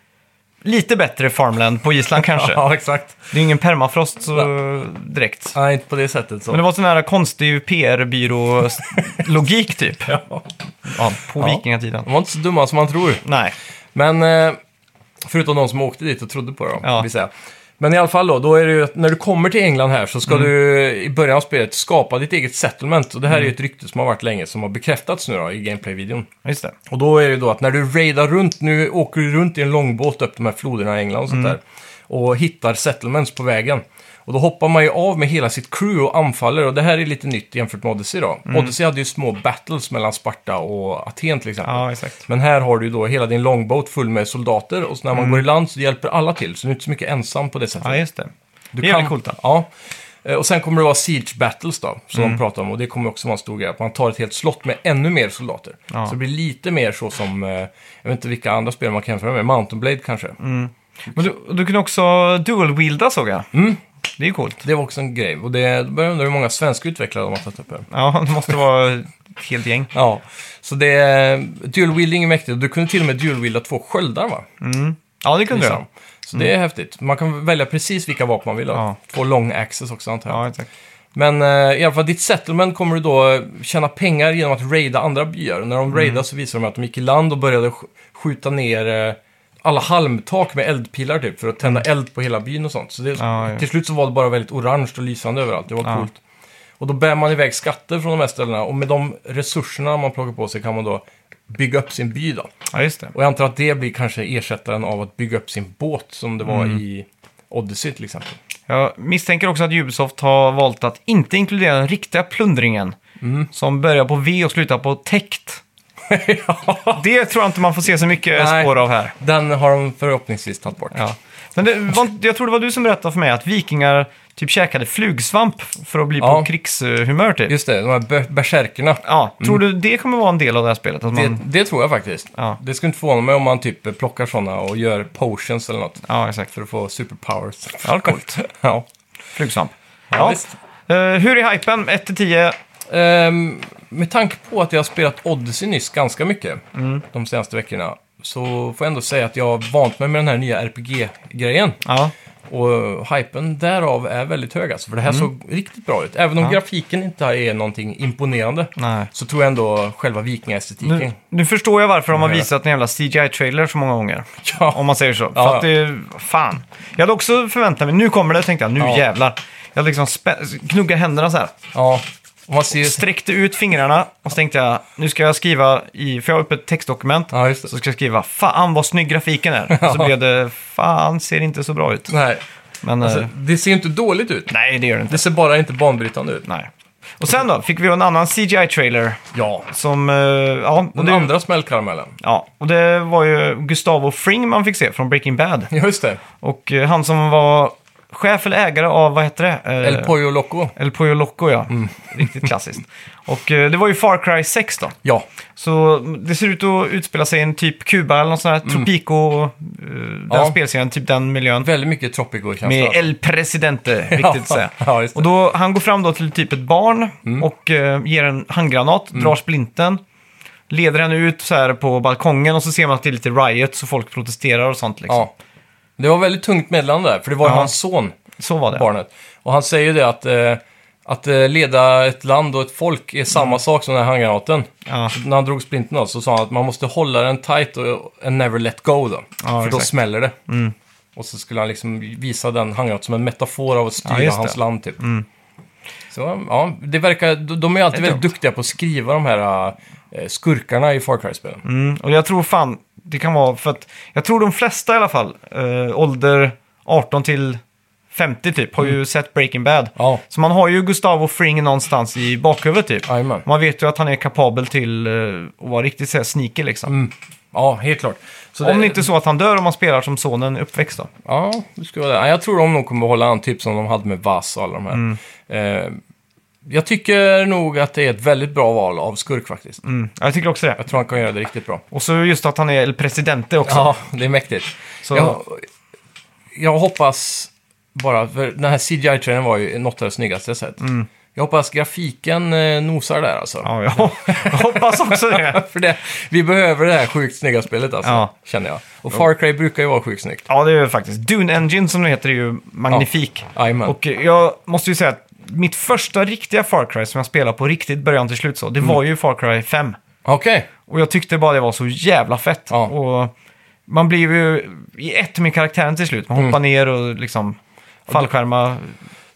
Speaker 1: lite bättre farmland på Island kanske.
Speaker 2: Ja, exakt.
Speaker 1: Det är ingen permafrost så direkt.
Speaker 2: Nej, inte på det sättet så.
Speaker 1: Men det var sån här konstig PR-byrå-logik typ.
Speaker 2: Ja.
Speaker 1: Ja, på
Speaker 2: Ja.
Speaker 1: vikingatiden.
Speaker 2: De var inte så dumma som man tror.
Speaker 1: Nej.
Speaker 2: Men eh, förutom de som åkte dit och trodde på det,
Speaker 1: Ja.
Speaker 2: ja. vill säga. Men i alla fall då, då är det ju att när du kommer till England här så ska du i början av spelet skapa ditt eget settlement. Och det här är ju ett rykte som har varit länge, som har bekräftats nu då i gameplay-videon.
Speaker 1: Just det.
Speaker 2: Och då är det ju då att när du raidar runt, nu åker du runt i en långbåt upp de här floderna i England och sånt
Speaker 1: Mm.
Speaker 2: där. Och hittar settlements på vägen. Och då hoppar man ju av med hela sitt crew och anfaller. Och det här är lite nytt jämfört med Odyssey då.
Speaker 1: Mm.
Speaker 2: Odyssey hade ju små battles mellan Sparta och Aten till exempel.
Speaker 1: Ja, exakt.
Speaker 2: Men här har du ju då hela din longboat full med soldater och så när man
Speaker 1: Mm.
Speaker 2: går i land så hjälper alla till. Så du är inte så mycket ensam på det sättet.
Speaker 1: Ja, just det.
Speaker 2: du
Speaker 1: det är jävligt coolt då.
Speaker 2: Ja. Eh, Och sen kommer det vara Siege Battles då, som
Speaker 1: Mm.
Speaker 2: de pratar om. Och det kommer också vara en stor grej. Att man tar ett helt slott med ännu mer soldater. Så det blir lite mer så som, eh, jag vet inte vilka andra spel man kan jämföra med, Mountain Blade kanske.
Speaker 1: Mm. Men du, du kunde också dual-wielda såg jag.
Speaker 2: Mm.
Speaker 1: Det är ju coolt.
Speaker 2: Det var också en grej. Och det då börjar jag undra hur många svenska utvecklare de har tagit upp här.
Speaker 1: Ja, det måste vara ett helt gäng.
Speaker 2: Ja, så det... eh, Dual wielding är mäktigt. Och Du kunde till och med dual wielda två sköldar va?
Speaker 1: Ja, det kunde
Speaker 2: Liksom.
Speaker 1: jag. Mm.
Speaker 2: Så det är häftigt. Man kan välja precis vilka vapen man vill ha.
Speaker 1: Ja.
Speaker 2: Två long access också antar jag.
Speaker 1: Ja, exakt.
Speaker 2: Men eh, i alla fall, ditt settlement kommer du då tjäna pengar genom att raida andra byar. Och när de
Speaker 1: Mm.
Speaker 2: raidar så visar de att de gick i land och började sk- skjuta ner eh, alla halmtak med eldpilar typ för att tända eld på hela byn och sånt. Så det,
Speaker 1: Mm. Ja, ja.
Speaker 2: till slut så var det bara väldigt orange och lysande överallt. Det var
Speaker 1: Ja.
Speaker 2: coolt. Och då bär man iväg skatter från de här ställena och med de resurserna man plockar på sig kan man då bygga upp sin by då.
Speaker 1: Ja, just det.
Speaker 2: Och jag antar att det blir kanske ersättaren av att bygga upp sin båt som det var
Speaker 1: Mm.
Speaker 2: i Odyssey till exempel.
Speaker 1: Jag misstänker också att Ubisoft har valt att inte inkludera den riktiga plundringen. Som börjar på V och slutar på täckt. Det tror jag inte man får se så mycket
Speaker 2: Nej.
Speaker 1: spår av här.
Speaker 2: Den har de förhoppningsvis tagit bort.
Speaker 1: Ja. Men det var, inte- jag tror det var du som berättade för mig att vikingar typ käkade flugsvamp för att bli på
Speaker 2: Ja.
Speaker 1: krigshumör typ.
Speaker 2: Just det, de här bä- bärsärkerna.
Speaker 1: Ja, tror du det kommer vara en del av det här spelet? Att
Speaker 2: Det,
Speaker 1: man...
Speaker 2: det tror jag faktiskt.
Speaker 1: Ja.
Speaker 2: Det skulle inte förvåna mig om man typ plockar sådana och gör potions eller något.
Speaker 1: Ja, exakt.
Speaker 2: För att få superpowers.
Speaker 1: Ja, coolt.
Speaker 2: ja.
Speaker 1: Flugsvamp. Ja.
Speaker 2: visst.
Speaker 1: Eh, hur är hypen? 1 till 10?
Speaker 2: Ehm, med tanke på att jag har spelat Odyssey nyss ganska mycket
Speaker 1: Mm.
Speaker 2: de senaste veckorna så får jag ändå säga att jag har vant mig med den här nya RPG-grejen.
Speaker 1: Ja.
Speaker 2: Och hypen därav är väldigt hög alltså, för det här
Speaker 1: Mm.
Speaker 2: såg riktigt bra ut. Även om grafiken inte är någonting imponerande
Speaker 1: Nej.
Speaker 2: så tror jag ändå själva vikingaestetiken.
Speaker 1: Nu, nu förstår jag varför de har
Speaker 2: Ja.
Speaker 1: visat en jävla CGI-trailer så många gånger.
Speaker 2: Ja.
Speaker 1: Om man säger så. För
Speaker 2: Ja.
Speaker 1: att det, fan. Jag hade också förväntat mig, nu kommer det tänkte jag, nu
Speaker 2: Ja.
Speaker 1: jävlar. Jag liksom spä- knuggade händerna så här.
Speaker 2: Ja, om man ser...
Speaker 1: Sträckte ut fingrarna och så tänkte jag, nu ska jag skriva i, för jag har uppe ett textdokument.
Speaker 2: Ja, just det.
Speaker 1: Så ska jag skriva, fan vad snygg grafiken är. Så blev det, fan ser inte så bra ut.
Speaker 2: Nej,
Speaker 1: Men
Speaker 2: alltså,
Speaker 1: eh,
Speaker 2: det ser ju inte dåligt ut.
Speaker 1: nej, det gör det inte.
Speaker 2: Det ser bara inte banbrytande ut.
Speaker 1: Nej. Och sen då, fick vi en annan CGI-trailer.
Speaker 2: Ja,
Speaker 1: Som, eh, ja, och
Speaker 2: den
Speaker 1: det,
Speaker 2: andra smällkaramellen.
Speaker 1: ja, och det var ju Gustavo Fring man fick se från Breaking Bad.
Speaker 2: Ja, just det.
Speaker 1: Och eh, han som var chef eller ägare av, vad heter det? Eh,
Speaker 2: El Pollo Mm. Loco.
Speaker 1: El Pollo Loco, ja. Riktigt klassiskt. Och eh, det var ju Far Cry 6 då.
Speaker 2: Ja,
Speaker 1: Så mm, det ser ut att utspela sig i en typ Kuba eller någon sån här Tropico, eh, den
Speaker 2: Mm. Ja.
Speaker 1: spelserien, typ den miljön.
Speaker 2: väldigt mycket Tropico-känsla.
Speaker 1: Med
Speaker 2: alltså.
Speaker 1: El Presidente, viktigt att säga.
Speaker 2: ja, just det. Mm.
Speaker 1: och då, han går fram då till typ ett barn och eh, ger en handgranat, drar splinten, leder henne ut så här på balkongen och så ser man att det är lite riot så folk protesterar och sånt liksom.
Speaker 2: Ja. Det var väldigt tungt meddelande där, för det var ju
Speaker 1: Ja.
Speaker 2: hans son,
Speaker 1: Så var det.
Speaker 2: barnet. Och han säger ju det att, eh, att eh, leda ett land och ett folk är samma sak som den här handgranaten.
Speaker 1: Mm. Ja.
Speaker 2: Så När han drog splinten av så sa han att man måste hålla den tight och and never let go då. för då
Speaker 1: exakt. Mm.
Speaker 2: smäller det. Och så skulle han liksom visa den handgranaten som en metafor av att styra
Speaker 1: Ja, just det. Mm.
Speaker 2: hans land typ. Så ja, det verkar, de de är alltid
Speaker 1: Det är
Speaker 2: väldigt duktiga på att skriva de här eh, skurkarna i Far Cry-spelen.
Speaker 1: Mm, och jag tror fan, det kan vara för att jag tror de flesta i alla fall, eh, ålder 18 till 50 typ, har ju sett Breaking Bad.
Speaker 2: Mm. Ja.
Speaker 1: Så man har ju Gustavo Fring någonstans i bakhuvudet typ.
Speaker 2: Jajamän.
Speaker 1: Man vet ju att han är kapabel till eh, att vara riktigt så här, sneaky liksom.
Speaker 2: Ja, helt klart. Så
Speaker 1: Om
Speaker 2: det-
Speaker 1: det inte är så att han dör om man spelar som sonen uppväxt då.
Speaker 2: Ja, det skulle vara det. Ja, Jag tror de nog kommer hålla an, typ som de hade med Vass och alla de här.
Speaker 1: Mm.
Speaker 2: Eh, jag tycker nog att det är ett väldigt bra val av skurk faktiskt.
Speaker 1: Mm. Ja, Jag tycker också det.
Speaker 2: Jag tror han kan göra det riktigt bra.
Speaker 1: Och så just att han är El Presidente också.
Speaker 2: Ja, det är mäktigt.
Speaker 1: Så-
Speaker 2: Jag, jag hoppas bara, för den här CGI-trailern var ju något av det snyggaste jag sett. Jag hoppas grafiken eh, nosar där alltså.
Speaker 1: Mm. Ja, jag, jag hoppas också det.
Speaker 2: För det, vi behöver det här sjukt snygga spelet alltså,
Speaker 1: Ja.
Speaker 2: känner jag. Och Far Cry brukar ju vara sjukt snyggt.
Speaker 1: Ja, det är det faktiskt. Dune Engine som det heter är ju magnifik.
Speaker 2: Jajamän.
Speaker 1: Och eh, jag måste ju säga att mitt första riktiga Far Cry som jag spelade på riktigt början till slut så, det
Speaker 2: Mm.
Speaker 1: var ju Far Cry 5.
Speaker 2: Okej,
Speaker 1: Och jag tyckte bara det var så jävla fett.
Speaker 2: Ja.
Speaker 1: Och man blev ju i ett med karaktären till slut. Man
Speaker 2: Mm.
Speaker 1: hoppar ner och liksom fallskärma.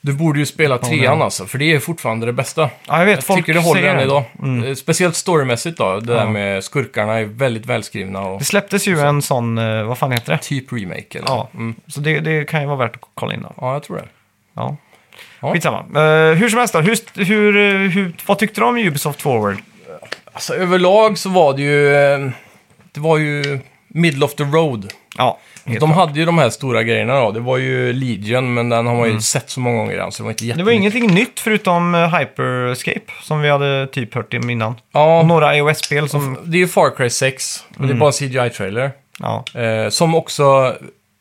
Speaker 2: du borde ju spela trean alltså, för det är fortfarande det bästa.
Speaker 1: Ja, jag vet.
Speaker 2: Jag
Speaker 1: folk
Speaker 2: tycker det håller
Speaker 1: säger
Speaker 2: än
Speaker 1: det. Mm.
Speaker 2: idag. Eh, Speciellt storymässigt då. Det där med skurkarna är väldigt välskrivna och
Speaker 1: Det släpptes ju en sån, eh, vad fan heter det?
Speaker 2: typ remake. Eller?
Speaker 1: Ja, mm. så det, det kan ju vara värt att kolla in då.
Speaker 2: ja, jag tror det.
Speaker 1: Ja.
Speaker 2: Ja.
Speaker 1: Skitsamma. Eh, hur som helst då, hur, hur, eh, hur, vad tyckte du om Ubisoft Forward?
Speaker 2: Alltså överlag så var det ju... eh, Det var ju middle of the road.
Speaker 1: Ja, helt
Speaker 2: De hade ju de här stora grejerna då. Det var ju Legion, men den har man ju sett så många gånger redan, så det var inte
Speaker 1: Mm. Det var
Speaker 2: jättemycket.
Speaker 1: ingenting nytt förutom eh, Hyperscape som vi hade typ hört om innan. Och
Speaker 2: Ja,
Speaker 1: några iOS-spel som...
Speaker 2: det är ju Far Cry 6. och
Speaker 1: Mm.
Speaker 2: Det är bara en CGI-trailer.
Speaker 1: Ja.
Speaker 2: Eh, som också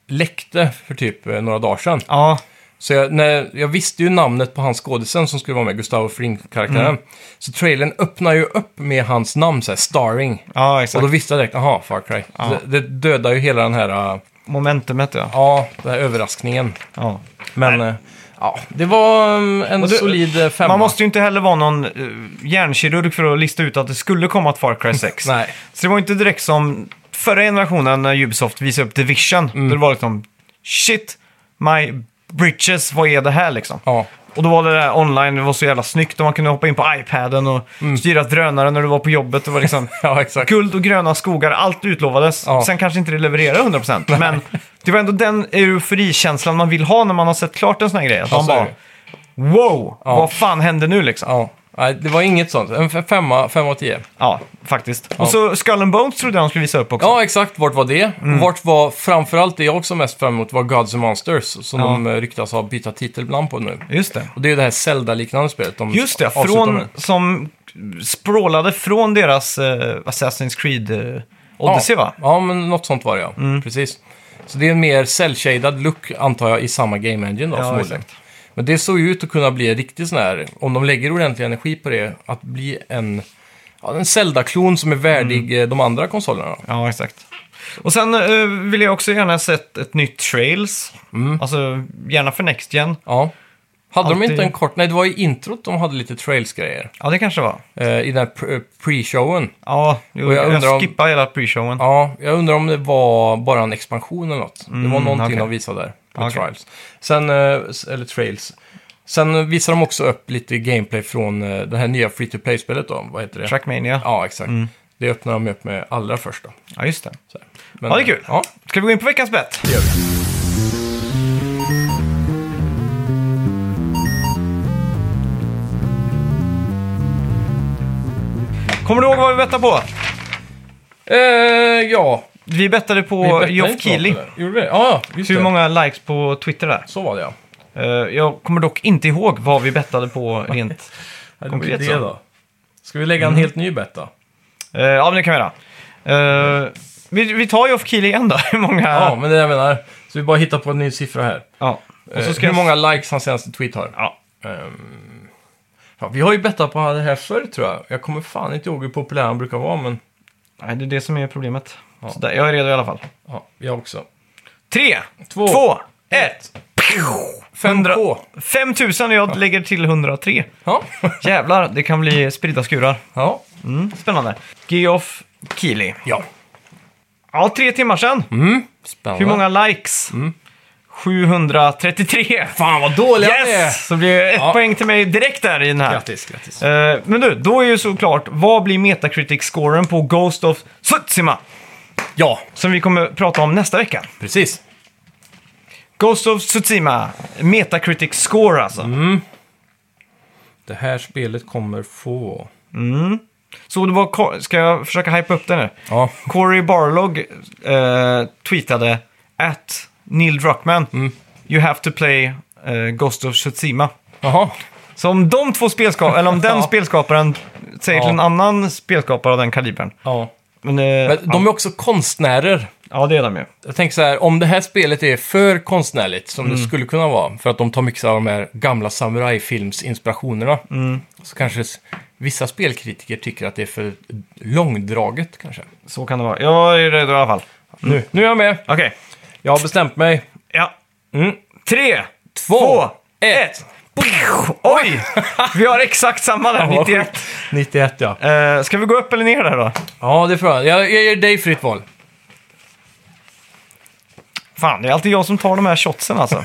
Speaker 2: läckte för typ eh, några dagar sedan.
Speaker 1: ja.
Speaker 2: Så jag, när, jag visste ju namnet på hans skådisen som skulle vara med, Gustavo Fring-karaktären.
Speaker 1: Mm.
Speaker 2: Så trailern öppnar ju upp med hans namn, så här, starring.
Speaker 1: Ja,
Speaker 2: Och
Speaker 1: exakt.
Speaker 2: då visste jag direkt, aha, Far Cry.
Speaker 1: Ja.
Speaker 2: Det, det dödar ju hela den här, äh,
Speaker 1: Momentumet, ja.
Speaker 2: ja, den här överraskningen.
Speaker 1: ja.
Speaker 2: Men, äh, ja, det var um, en
Speaker 1: det-
Speaker 2: solid äh, femma.
Speaker 1: Man måste ju inte heller vara någon eh, hjärnkirurg för att lista ut att det skulle komma ett Far Cry 6.
Speaker 2: Nej.
Speaker 1: Så det var inte direkt som förra generationen när Ubisoft visade upp Division.
Speaker 2: Mm.
Speaker 1: Då det var liksom shit, my britches, vad är det här liksom?
Speaker 2: Ja,
Speaker 1: Och då var det där online, det var så jävla snyggt och man kunde hoppa in på iPaden och styra drönare när du var på jobbet. Det var liksom
Speaker 2: Mm. ja, exakt.
Speaker 1: guld och gröna skogar, allt utlovades.
Speaker 2: Ja.
Speaker 1: Sen kanske inte det levererar 100%, men det var ändå den euforikänslan man vill ha när man har sett klart en sån här grej. Att man
Speaker 2: så är
Speaker 1: bara, wow, vad fan hände nu liksom? Ja,
Speaker 2: Ja. Nej, det var inget sånt. En f- femma, femma av tio.
Speaker 1: faktiskt. Och så Skull and Bones trodde jag de skulle visa upp också.
Speaker 2: Ja, exakt. Vart var det?
Speaker 1: Mm.
Speaker 2: Vart var framförallt det jag såg mest fram emot var Gods and Monsters, som
Speaker 1: Ja.
Speaker 2: de eh, ryktas ha bytt titel ibland på nu.
Speaker 1: Just det.
Speaker 2: Och det är det här Zelda-liknande spelet de
Speaker 1: Just det,
Speaker 2: avslutar
Speaker 1: från,
Speaker 2: med.
Speaker 1: som språlade från deras eh, Assassin's Creed eh, Odyssey va? Mm.
Speaker 2: Ja, men något sånt var det ja. Precis. Så det är en mer cell-shaded look, antar jag, i samma game engine då
Speaker 1: Ja,
Speaker 2: förmodligen. Men det såg ju ut att kunna bli en riktig sån här, om de lägger ordentlig energi på det, att
Speaker 1: Mm.
Speaker 2: bli en, ja, en Zelda-klon som är värdig eh, de andra konsolerna. då.
Speaker 1: Ja, exakt. Och sen eh, vill jag också gärna ha sett ett nytt Trails.
Speaker 2: Mm.
Speaker 1: Alltså gärna för Next Gen.
Speaker 2: Ja. Hade
Speaker 1: Alltid.
Speaker 2: de inte en kort... Nej, det var i introt de hade lite trails-grejer.
Speaker 1: Ja, det kanske var.
Speaker 2: Eh, I den här pre- pre-showen.
Speaker 1: Ja, jo,
Speaker 2: Och
Speaker 1: jag,
Speaker 2: jag undrar om-
Speaker 1: skippade hela pre-showen.
Speaker 2: Ja, jag undrar om det var bara en expansion eller något. det var någonting
Speaker 1: Mm, okej.
Speaker 2: de visade där på
Speaker 1: Okej.
Speaker 2: Trials. Sen, eh, s- eller Trails. Sen visar de också upp lite gameplay från eh, det här nya free to play-spelet då. Vad heter det?
Speaker 1: Trackmania. Mm. Ja,
Speaker 2: Ja, exakt. Det öppnar de upp med allra första.
Speaker 1: just det.
Speaker 2: Så här. Men,
Speaker 1: Ja, det är kul.
Speaker 2: Ja,
Speaker 1: Ska vi gå in på veckans bett?
Speaker 2: det gör vi.
Speaker 1: Kommer du ihåg vad vi bettade på?
Speaker 2: Eh, ja.
Speaker 1: Vi bettade
Speaker 2: vi
Speaker 1: på
Speaker 2: bettar
Speaker 1: Geoff
Speaker 2: inte på
Speaker 1: Keighley.
Speaker 2: något, eller? Gjorde vi det? Ja, ja, just
Speaker 1: Hur
Speaker 2: det.
Speaker 1: många likes på Twitter där?
Speaker 2: Så var det ja.
Speaker 1: Eh, jag kommer dock inte ihåg vad vi bettade på rent...
Speaker 2: Ja, det var ju
Speaker 1: Konkret
Speaker 2: det
Speaker 1: så. Mm.
Speaker 2: då. Ska vi lägga en helt ny bet då?
Speaker 1: Eh, ja, men det kan vi göra. Eh, vi, vi tar Geoff Keighley igen då. Hur många...
Speaker 2: Ja, men det jag menar. Så vi bara hittar på en ny siffra här.
Speaker 1: Ja. Och så ska
Speaker 2: Eh, hur
Speaker 1: jag...
Speaker 2: många likes hans senaste tweet har.
Speaker 1: Ja.
Speaker 2: Ehm, ja, vi har ju bettat på det här förr tror jag. Jag kommer fan inte ihåg hur populär han brukar vara, men
Speaker 1: Nej, det är det som är problemet.
Speaker 2: Ja.
Speaker 1: Så där, jag är redo i alla fall.
Speaker 2: ja, jag också.
Speaker 1: Tre,
Speaker 2: Två.
Speaker 1: två, ett.
Speaker 2: 5K.
Speaker 1: 5000 och jag lägger till 103.
Speaker 2: Ja.
Speaker 1: Jävlar, det kan bli spridda skurar.
Speaker 2: ja.
Speaker 1: Mm, spännande. Geoff Keighley.
Speaker 2: Ja.
Speaker 1: Ja, tre timmar sedan.
Speaker 2: Mm. Spännande.
Speaker 1: Hur många likes?
Speaker 2: Mm.
Speaker 1: 733.
Speaker 2: Fan vad dåliga ni är!
Speaker 1: Yes! Så blir det ett
Speaker 2: Ja.
Speaker 1: poäng till mig direkt där i den här.
Speaker 2: Grattis, grattis.
Speaker 1: Eh, men du, då är ju såklart, vad blir Metacritic-scoren på Ghost of Tsushima?
Speaker 2: Ja,
Speaker 1: Som vi kommer prata om nästa vecka.
Speaker 2: precis.
Speaker 1: Ghost of Tsushima, Metacritic score alltså.
Speaker 2: Mm. Det här spelet kommer få...
Speaker 1: Så det var, Ko- ska jag försöka hypa upp det nu?
Speaker 2: Ja.
Speaker 1: Corey Barlog eh, tweetade att Neil Druckmann,
Speaker 2: Mm.
Speaker 1: you have to play eh, Ghost of Tsushima.
Speaker 2: Jaha.
Speaker 1: Så om de två spelskaparna, eller om den
Speaker 2: Ja.
Speaker 1: spelskaparen säger till
Speaker 2: Ja.
Speaker 1: en annan spelskapare av den kalibern.
Speaker 2: Ja.
Speaker 1: Men, eh,
Speaker 2: Men de är också konstnärer.
Speaker 1: Ja, det är de ju.
Speaker 2: Jag tänker så här, om det här spelet är för konstnärligt, som
Speaker 1: Mm.
Speaker 2: det skulle kunna vara, för att de tar mycket av de här gamla samurajfilmsinspirationerna,
Speaker 1: Mm.
Speaker 2: så kanske s- vissa spelkritiker tycker att det är för långdraget kanske.
Speaker 1: Så kan det vara. Jag är redo i alla fall. Mm.
Speaker 2: Nu, nu är jag med.
Speaker 1: Okej.
Speaker 2: Jag har bestämt mig.
Speaker 1: Ja.
Speaker 2: Mm.
Speaker 1: Tre,
Speaker 2: Två, ett.
Speaker 1: Pow! Oj! Vi har exakt samma där, 91.
Speaker 2: 91, ja.
Speaker 1: Uh, ska vi gå upp eller ner där då?
Speaker 2: Ja, det får jag. Jag, jag ger dig fritt val.
Speaker 1: Fan, det är alltid jag som tar de här shotsen alltså.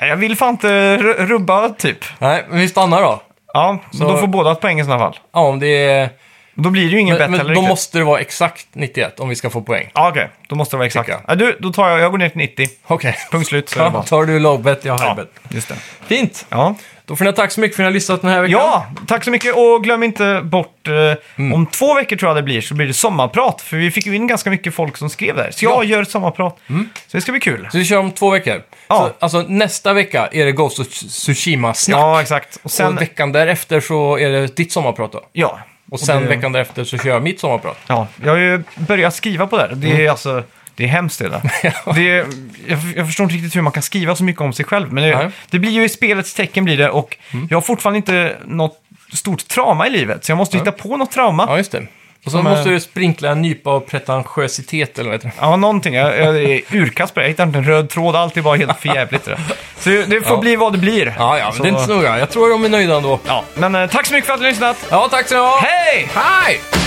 Speaker 1: Nej, jag vill fan inte ru- rubba typ.
Speaker 2: Nej, men vi stannar då.
Speaker 1: Ja, så
Speaker 2: Så-
Speaker 1: då får båda ett poäng i sådana fall.
Speaker 2: Ja, om det är...
Speaker 1: Då blir det ju ingen bett
Speaker 2: Men,
Speaker 1: heller
Speaker 2: men då
Speaker 1: riktigt.
Speaker 2: måste det vara exakt 91 om vi ska få poäng.
Speaker 1: Ja, okej. Då måste det vara exakt.
Speaker 2: Tycker jag.
Speaker 1: Ja, du, då tar jag, jag går ner till 90.
Speaker 2: Okej.
Speaker 1: Punkt slut, så är det
Speaker 2: Ja,
Speaker 1: bara.
Speaker 2: tar du lowbet, jag har
Speaker 1: Ja,
Speaker 2: highbet.
Speaker 1: just det.
Speaker 2: Fint!
Speaker 1: Ja.
Speaker 2: Då får ni ha tack så mycket för att ni har lyssnat den här veckan.
Speaker 1: ja, tack så mycket och glöm inte bort, eh,
Speaker 2: Mm.
Speaker 1: om två veckor tror jag det blir, så blir det sommarprat. För vi fick ju in ganska mycket folk som skrev där. Så jag
Speaker 2: Ja. Mm.
Speaker 1: gör ett sommarprat. Så det ska bli kul.
Speaker 2: Så vi kör om två veckor.
Speaker 1: Ja.
Speaker 2: Så, alltså nästa vecka är det Ghost of Tsushima-snack.
Speaker 1: Ja, exakt. Och sen...
Speaker 2: Och veckan därefter så är det ditt sommarprat då.
Speaker 1: ja.
Speaker 2: Och sen
Speaker 1: det-
Speaker 2: veckan därefter så kör jag mitt sommarprat.
Speaker 1: Ja, jag har ju börjat skriva på det här. Det är
Speaker 2: Mm.
Speaker 1: alltså... Det är hemskt det där. det är, jag, jag förstår inte riktigt hur man kan skriva så mycket om sig själv. Men det,
Speaker 2: Nej. Mm.
Speaker 1: det blir ju i spelets tecken blir det och jag har fortfarande inte något stort trauma i livet. Så jag måste hitta på något trauma. Ja,
Speaker 2: Ja, just det. Och så
Speaker 1: Som,
Speaker 2: måste
Speaker 1: eh,
Speaker 2: du sprinkla en nypa av pretentiositet eller vad heter det?
Speaker 1: någonting. Jag, jag är urkast på det. Jag hittar inte en röd tråd. Allt är bara helt förjävligt. det där. Så det får
Speaker 2: Ja.
Speaker 1: bli vad det blir.
Speaker 2: Ja, ja, men
Speaker 1: så,
Speaker 2: det är inte så noga. Jag tror de är nöjda ändå.
Speaker 1: ja. Men eh, tack så mycket för att ni har lyssnat.
Speaker 2: Ja, tack så mycket.
Speaker 1: Hej!
Speaker 2: Hej!